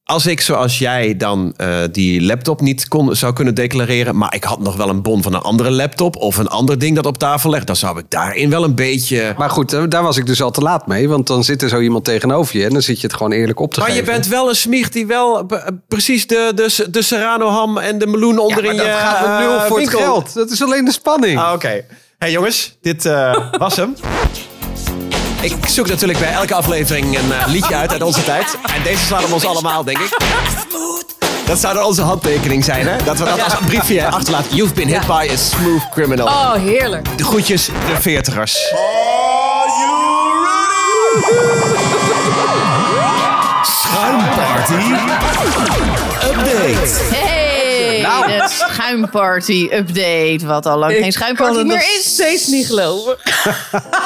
Speaker 1: Als ik zoals jij dan eh, die laptop niet kon, zou kunnen declareren, maar ik had nog wel een bon van een andere laptop of een ander ding dat op tafel legt, dan zou ik daarin wel een beetje.
Speaker 4: Maar goed, eh, daar was ik dus al te laat mee. Want dan zit er zo iemand tegenover je. En dan zit je het gewoon eerlijk op te
Speaker 1: Maar je
Speaker 4: geven.
Speaker 1: bent wel een smiecht die wel eh, precies de, de, de Serrano ham en de meloen
Speaker 4: Ja,
Speaker 1: onder
Speaker 4: maar
Speaker 1: in
Speaker 4: dat
Speaker 1: je
Speaker 4: gaat om nul
Speaker 1: eh,
Speaker 4: voor
Speaker 1: winkel.
Speaker 4: het geld. Dat is alleen de spanning.
Speaker 1: Ah, Oké. Hey jongens, dit eh, was hem. Ik zoek natuurlijk bij elke aflevering een eh, liedje uit uit onze tijd. En deze slaat om ons allemaal, denk ik. Dat zou dan onze handtekening zijn, hè? Dat we dat als een briefje achterlaten. You've been hit by a smooth criminal.
Speaker 5: Oh, heerlijk.
Speaker 1: De groetjes, de veertigers.
Speaker 10: Schuimparty. Update.
Speaker 2: Hey,
Speaker 5: Nou.
Speaker 2: de schuimparty-update. Wat al lang geen schuimparty meer is.
Speaker 5: steeds niet geloven.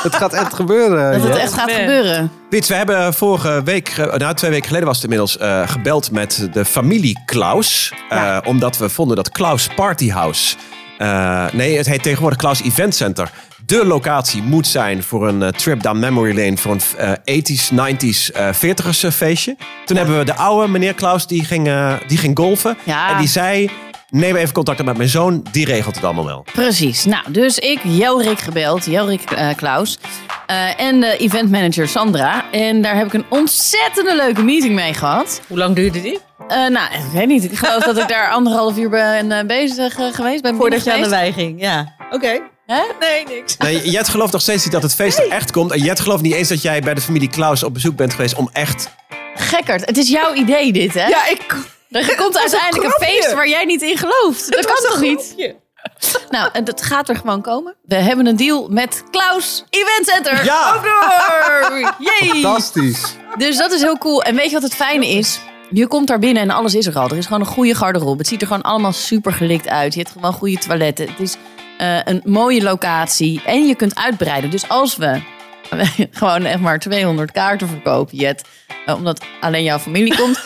Speaker 4: Het gaat echt gebeuren.
Speaker 2: Dat
Speaker 4: ja.
Speaker 2: het echt gaat
Speaker 5: Nee.
Speaker 2: gebeuren.
Speaker 1: Wits, we hebben vorige week, eh, nou twee weken geleden was het inmiddels, eh, gebeld met de familie Klaus. Eh, Omdat we vonden dat Klaus Partyhouse, eh nee het heet tegenwoordig Klaus Event Center, de locatie moet zijn voor een eh, trip down memory lane voor een eh, 80s, 90s, eh 40ers eh, feestje. Toen hebben we de oude meneer Klaus, die ging, eh, die ging golfen.
Speaker 2: Ja.
Speaker 1: En die zei, neem even contact op met mijn zoon, die regelt het allemaal wel.
Speaker 2: Precies. Nou, dus ik, Jelrik gebeld. Jelrik eh, Klaus. Eh, en de eventmanager Sandra. En daar heb ik een ontzettende leuke meeting mee gehad.
Speaker 5: Hoe lang duurde dit?
Speaker 2: Eh, nou, ik weet niet. Ik geloof dat ik daar anderhalf uur ben eh, bezig eh, geweest. Ben
Speaker 5: Voordat je aan de
Speaker 2: binnen
Speaker 5: wei ging, ja. Oké.
Speaker 2: Hè?
Speaker 5: Nee, niks.
Speaker 1: Nee, Jet gelooft nog steeds niet dat het feest er echt komt. En Jet gelooft niet eens dat jij bij de familie Klaus op bezoek bent geweest om echt
Speaker 2: geweest. Gekkerd. Het is jouw idee dit, hè?
Speaker 5: Ja, ik...
Speaker 2: Er komt uiteindelijk een,
Speaker 5: grapje.
Speaker 2: feest waar jij niet in gelooft. Dat kan toch niet? Nou, en dat gaat er gewoon komen. We hebben een deal met Klaus Event Center.
Speaker 1: Ja.
Speaker 2: Ook door! Yay!
Speaker 4: Fantastisch.
Speaker 2: Dus dat is heel cool. En weet je wat het fijne is? Je komt daar binnen en alles is er al. Er is gewoon een goede garderobe. Het ziet er gewoon allemaal super gelikt uit. Je hebt gewoon goede toiletten. Het is eh, een mooie locatie. En je kunt uitbreiden. Dus als we gewoon echt maar 200 kaarten verkopen, Jet. eh, omdat alleen jouw familie komt.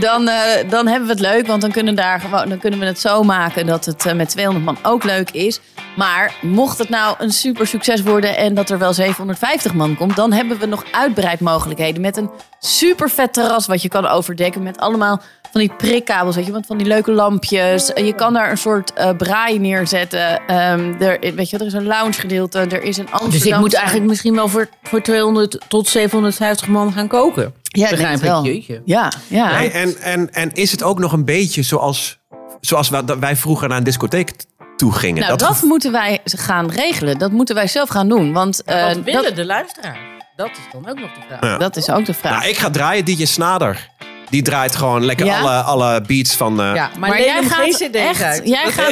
Speaker 2: dan, eh, dan hebben we het leuk. Want dan kunnen, daar gewoon, dan kunnen we het zo maken dat het eh, met 200 man ook leuk is. Maar mocht het nou een super succes worden en dat er wel 750 man komt, dan hebben we nog uitbreidmogelijkheden met een super vet terras wat je kan overdekken met allemaal van die prikkabels, weet je, want van die leuke lampjes. Eh, Je kan daar een soort eh braai neerzetten. Ehm, er, weet je, er is een lounge gedeelte, er is een Amsterdam.
Speaker 5: Dus ik moet eigenlijk misschien wel voor, voor 200 tot 750 man gaan koken.
Speaker 2: ja, ik denk
Speaker 5: Begrijp
Speaker 2: het
Speaker 5: ik?
Speaker 2: wel.
Speaker 5: Jeetje.
Speaker 2: Ja, ja.
Speaker 1: Hey, en, en, en is het ook nog een beetje zoals, zoals wa- dat wij vroeger naar een discotheek t- toe gingen?
Speaker 2: nou, dat, moeten wij gaan regelen. Dat moeten wij zelf gaan doen, want eh,
Speaker 5: Wat willen
Speaker 2: dat,
Speaker 5: de luisteraars? Dat is dan ook nog de vraag.
Speaker 1: Ja.
Speaker 2: dat is ook de vraag.
Speaker 1: Nou, ik ga draaien DJ Snader. Die draait gewoon lekker
Speaker 2: Ja?
Speaker 1: alle, alle beats van... eh,
Speaker 5: Ja, maar,
Speaker 2: maar
Speaker 5: neem
Speaker 2: jij
Speaker 5: hem geen
Speaker 2: gaat
Speaker 5: CD
Speaker 2: echt,
Speaker 5: uit.
Speaker 2: jij gaat.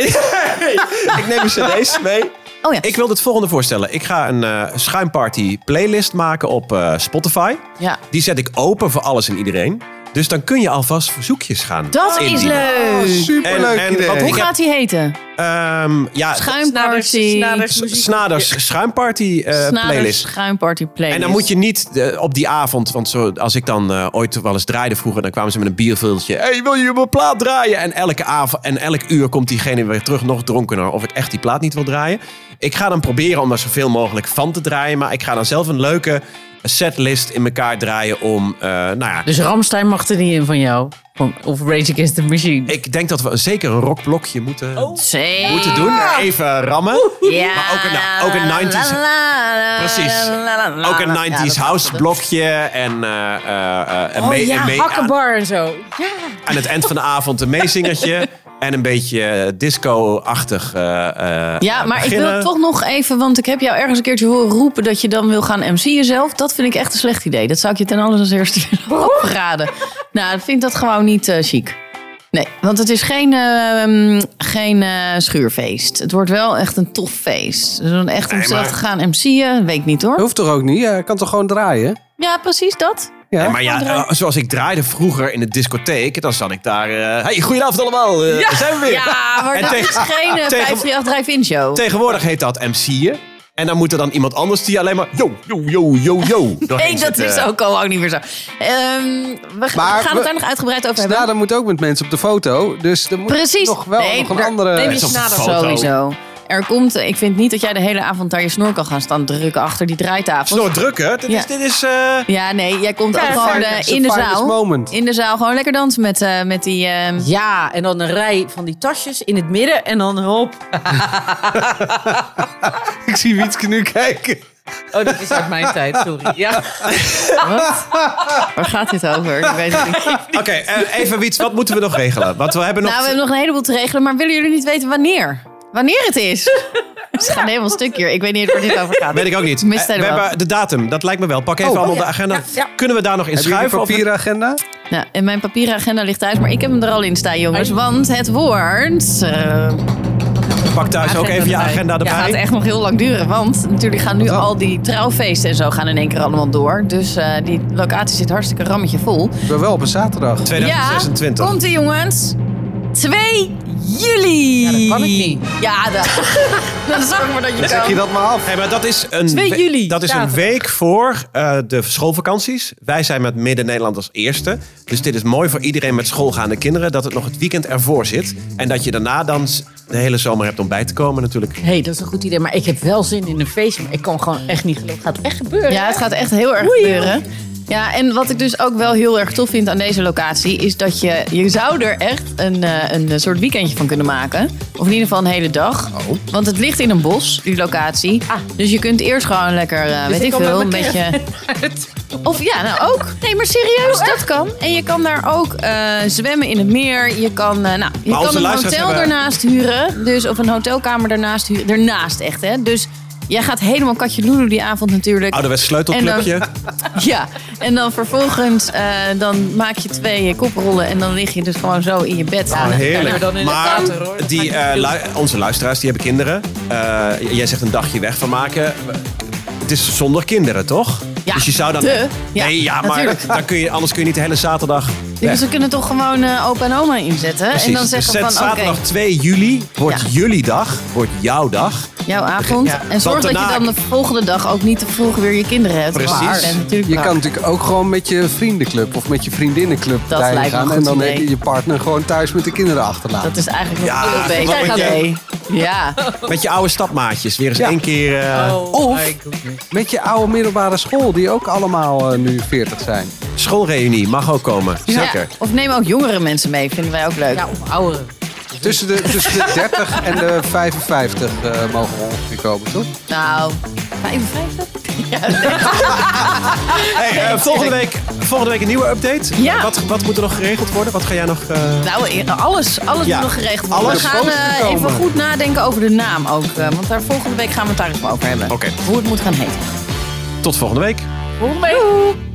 Speaker 1: ik neem mijn cd's mee.
Speaker 2: Oh ja.
Speaker 1: Ik wil het volgende voorstellen. Ik ga een eh schuimparty playlist maken op eh, Spotify.
Speaker 2: ja.
Speaker 1: Die zet ik open voor alles en iedereen. Dus dan kun je alvast verzoekjes gaan
Speaker 2: Dat is
Speaker 1: indienen.
Speaker 2: leuk.
Speaker 4: Superleuk
Speaker 1: En- en
Speaker 4: idee.
Speaker 1: wat
Speaker 2: Hoe
Speaker 1: Ik
Speaker 2: gaat die heten?
Speaker 1: Ehm, ja,
Speaker 2: Schuimparty.
Speaker 1: S- Snaders schuimparty eh,
Speaker 2: Snaders
Speaker 1: playlist.
Speaker 2: schuimparty playlist.
Speaker 1: En dan moet je niet eh, op die avond, want zo, als ik dan eh, ooit wel eens draaide vroeger, dan kwamen ze met een biervultje. hey, wil je mijn plaat draaien? En elke avond en elk uur komt diegene weer terug, nog dronkener, of ik echt die plaat niet wil draaien. Ik ga dan proberen om er zoveel mogelijk van te draaien, maar ik ga dan zelf een leuke setlist in elkaar draaien om, eh, nou ja,
Speaker 5: Dus Ramstein mag er niet in van jou. Van- Of Rage Against the Machine.
Speaker 1: ik denk dat we zeker een rockblokje moeten,
Speaker 2: Oh. Zee.
Speaker 1: moeten doen. Even rammen.
Speaker 2: Ja.
Speaker 1: Maar ook een- nou, ook een 90s
Speaker 2: La, la, la, la,
Speaker 1: Precies.
Speaker 2: la, la, la,
Speaker 1: Ook een
Speaker 2: la.
Speaker 1: 90s
Speaker 2: Ja, dat-
Speaker 1: house blokje en, eh, eh,
Speaker 2: Oh
Speaker 1: eh, en mee- en mee- aan,
Speaker 5: Oh hakkenbar en zo.
Speaker 1: aan het eind van de avond een meezingertje. en een beetje eh, disco-achtig. eh, eh,
Speaker 2: Ja,
Speaker 1: eh,
Speaker 2: maar ik wil
Speaker 1: beginnen.
Speaker 2: toch nog even, want ik heb jou ergens een keertje horen roepen dat je dan wil gaan MC'en zelf. Dat vind ik echt een slecht idee. Dat zou ik je ten alles als eerste willen afraden. Nou, ik vind dat gewoon niet eh, chic. Nee, want het is geen, ehm, geen eh, schuurfeest. Het wordt wel echt een tof feest. Dus dan echt om
Speaker 1: Nee,
Speaker 2: zelf
Speaker 1: maar-
Speaker 2: te gaan MC'en, weet ik niet hoor.
Speaker 4: Dat hoeft toch ook niet? Ja, je kan toch gewoon draaien?
Speaker 2: Ja, precies dat.
Speaker 1: Nee, maar ja, eh, zoals ik draaide vroeger in de discotheek, dan zat ik daar. eh, hey, goedenavond allemaal. eh, daar zijn we weer.
Speaker 2: Ja, maar
Speaker 1: En
Speaker 2: dat
Speaker 1: tegen-
Speaker 2: is geen eh,
Speaker 1: tegen-
Speaker 2: 538 Drive-In Show.
Speaker 1: Tegenwoordig heet dat MC'en. En dan moet er dan iemand anders die alleen maar. Yo, yo, yo, yo, yo.
Speaker 2: Nee,
Speaker 1: doorheen
Speaker 2: dat
Speaker 1: zit,
Speaker 2: is
Speaker 1: eh.
Speaker 2: ook al lang niet meer zo. Ehm, we, g-
Speaker 4: Maar
Speaker 2: we gaan
Speaker 4: we-
Speaker 2: het daar nog uitgebreid
Speaker 1: Nou,
Speaker 2: over hebben.
Speaker 4: Snader moet ook met mensen op de foto. Dus er moet
Speaker 2: Precies.
Speaker 4: nog wel
Speaker 2: Nee,
Speaker 4: nog een
Speaker 2: maar-
Speaker 4: andere...
Speaker 2: nee,
Speaker 1: die Mensen op de snader. foto.
Speaker 2: Sowieso. Er komt, ik vind niet dat jij de hele avond daar je snor kan gaan staan drukken achter die draaitafel.
Speaker 1: Snor druk, hè? Dit is.
Speaker 2: Ja.
Speaker 1: Dit is eh,
Speaker 2: Ja, nee, jij komt ook gewoon eh,
Speaker 4: It's the
Speaker 2: in de
Speaker 4: finest
Speaker 2: zaal.
Speaker 4: moment.
Speaker 2: In de zaal gewoon lekker dansen met, eh, met die... ehm,
Speaker 5: Ja, en dan een rij van die tasjes in het midden en dan hop.
Speaker 4: Ik zie Wietke nu kijken.
Speaker 5: Oh, dat is uit mijn tijd, sorry. Ja.
Speaker 2: wat? Waar gaat dit over? Ik weet het niet.
Speaker 1: Oké, eh, even Wiets, wat moeten we nog regelen? Want we hebben nog.
Speaker 2: Nou, we hebben nog een heleboel te regelen, maar willen jullie niet weten wanneer? Wanneer het is? Het gaat helemaal stuk hier. Ik weet niet waar dit over gaat.
Speaker 1: Weet ik ook niet.
Speaker 2: Mist
Speaker 1: Eh, we
Speaker 2: helemaal.
Speaker 1: hebben de datum, dat lijkt me wel. Pak even
Speaker 4: Oh.
Speaker 1: allemaal de agenda. Kunnen we daar nog in
Speaker 4: Heb je een
Speaker 1: schuiven? of-
Speaker 4: papieragenda?
Speaker 2: Nou, en mijn papieren agenda ligt thuis, maar ik heb hem er al in staan, jongens. Want het woord eh,
Speaker 1: Pak thuis ook even je agenda
Speaker 2: ja, gaat
Speaker 1: erbij.
Speaker 2: echt nog heel lang duren. Want natuurlijk gaan nu
Speaker 4: dan?
Speaker 2: al die trouwfeesten en zo gaan in één keer allemaal door. Dus eh, die locatie zit hartstikke rammetje vol.
Speaker 4: Ik ben wel op een zaterdag.
Speaker 1: 2026.
Speaker 2: Ja, komt ie jongens. 2 juli. Ja, dat
Speaker 5: kan ik niet.
Speaker 2: Ja, dat, dat zorg maar dat je
Speaker 4: Zeg je
Speaker 2: kan.
Speaker 4: dat maar af.
Speaker 1: Hey, maar dat is een,
Speaker 2: 2
Speaker 1: we-
Speaker 2: juli,
Speaker 1: dat is een
Speaker 2: zaterdag.
Speaker 1: week voor eh, de schoolvakanties. Wij zijn met Midden-Nederland als eerste. Dus dit is mooi voor iedereen met schoolgaande kinderen. Dat het nog het weekend ervoor zit. En dat je daarna dan s- de hele zomer hebt om bij te komen natuurlijk.
Speaker 5: Hé, hey, dat is een goed idee, maar ik heb wel zin in een feestje. Maar ik kan gewoon echt niet geloven. Het gaat echt gebeuren.
Speaker 2: Ja, het gaat echt heel erg gebeuren. Ja, en wat ik dus ook wel heel erg tof vind aan deze locatie... is dat je, je zou er echt een, eh, een soort weekendje van kunnen maken. Of in ieder geval een hele dag. Want het ligt in een bos, die locatie. Dus je kunt eerst gewoon lekker, eh, weet
Speaker 5: ik
Speaker 2: ik
Speaker 5: kan
Speaker 2: veel,
Speaker 5: met
Speaker 2: een
Speaker 5: mijn
Speaker 2: beetje... Of ja, nou ook. Nee, maar serieus, dat kan. En je kan daar ook eh, zwemmen in het meer. Je kan, eh, nou, je
Speaker 1: Maar
Speaker 2: kan
Speaker 1: onze
Speaker 2: een hotel
Speaker 1: luisteraars hebben-
Speaker 2: daarnaast huren. Dus, of een hotelkamer daarnaast huren. Daarnaast echt, hè. Dus jij gaat helemaal katje loeloe die avond natuurlijk.
Speaker 1: Ouderwets sleutelclubje.
Speaker 2: Ja, en dan vervolgens eh, dan maak je twee eh, koprollen en dan lig je dus gewoon zo in je bed.
Speaker 1: Oh,
Speaker 2: aan het-
Speaker 1: heerlijk.
Speaker 5: dan in het
Speaker 1: maar
Speaker 5: water, hoor. Dat
Speaker 1: die,
Speaker 5: maakt niet
Speaker 1: eh, lu- onze luisteraars die hebben kinderen. Eh, jij zegt een dagje weg van maken. Het is zonder kinderen, toch?
Speaker 2: Ja,
Speaker 1: dus je zou dan.
Speaker 2: de- ja,
Speaker 1: nee, ja, maar
Speaker 2: natuurlijk.
Speaker 1: dan kun je, anders kun je niet de hele zaterdag. weg.
Speaker 2: Dus we kunnen toch gewoon eh, opa en oma inzetten. En
Speaker 1: Precies.
Speaker 2: dan
Speaker 1: Dus
Speaker 2: zeggen
Speaker 1: zet
Speaker 2: we van, oké,
Speaker 1: zaterdag 2 juli wordt
Speaker 2: Ja.
Speaker 1: jullie dag, wordt jouw dag.
Speaker 2: jouw avond.
Speaker 1: Ja.
Speaker 2: En zorg
Speaker 1: Want
Speaker 2: dat je
Speaker 1: daarna-
Speaker 2: dan de volgende dag ook niet te vroeg weer je kinderen hebt.
Speaker 1: Precies.
Speaker 2: Maar, en natuurlijk
Speaker 4: Je
Speaker 2: waar.
Speaker 4: kan natuurlijk ook gewoon met je vriendenclub of met je vriendinnenclub
Speaker 2: Dat
Speaker 4: daarheen
Speaker 2: lijkt me een
Speaker 4: gaan. En
Speaker 2: goed
Speaker 4: dan
Speaker 2: idee.
Speaker 4: heb je je partner gewoon thuis met de kinderen achterlaten.
Speaker 2: Dat is eigenlijk nog
Speaker 1: Ja,
Speaker 2: veel
Speaker 1: want
Speaker 2: beter.
Speaker 1: je-
Speaker 2: idee. Ja,
Speaker 1: Met je oude stapmaatjes. Weer eens
Speaker 4: Ja.
Speaker 1: één keer. eh,
Speaker 2: Oh.
Speaker 4: Of met je oude middelbare school, die ook allemaal eh, nu 40 zijn.
Speaker 1: Schoolreunie mag ook komen. Zeker.
Speaker 2: Ja. Of neem ook jongere mensen mee, vinden wij ook leuk.
Speaker 5: Ja, of ouderen.
Speaker 4: Tussen de, tussen de 30 en de 55 eh, mogen we ongeveer komen, toch?
Speaker 2: Nou, 55?
Speaker 1: Hey, eh, volgende, week, volgende week een nieuwe update.
Speaker 2: Ja.
Speaker 1: Wat, wat moet er nog geregeld worden? Wat ga jij nog... eh,
Speaker 2: Nou, eh, alles, alles
Speaker 1: Ja,
Speaker 2: moet nog geregeld worden.
Speaker 1: alles
Speaker 2: we gaan
Speaker 1: moet
Speaker 2: eh,
Speaker 1: komen.
Speaker 2: even goed nadenken over de naam ook. eh, want daar volgende week gaan we het daar even over hebben.
Speaker 1: Oké.
Speaker 2: Hoe het moet gaan heten.
Speaker 1: Tot volgende week.
Speaker 2: Volgende week.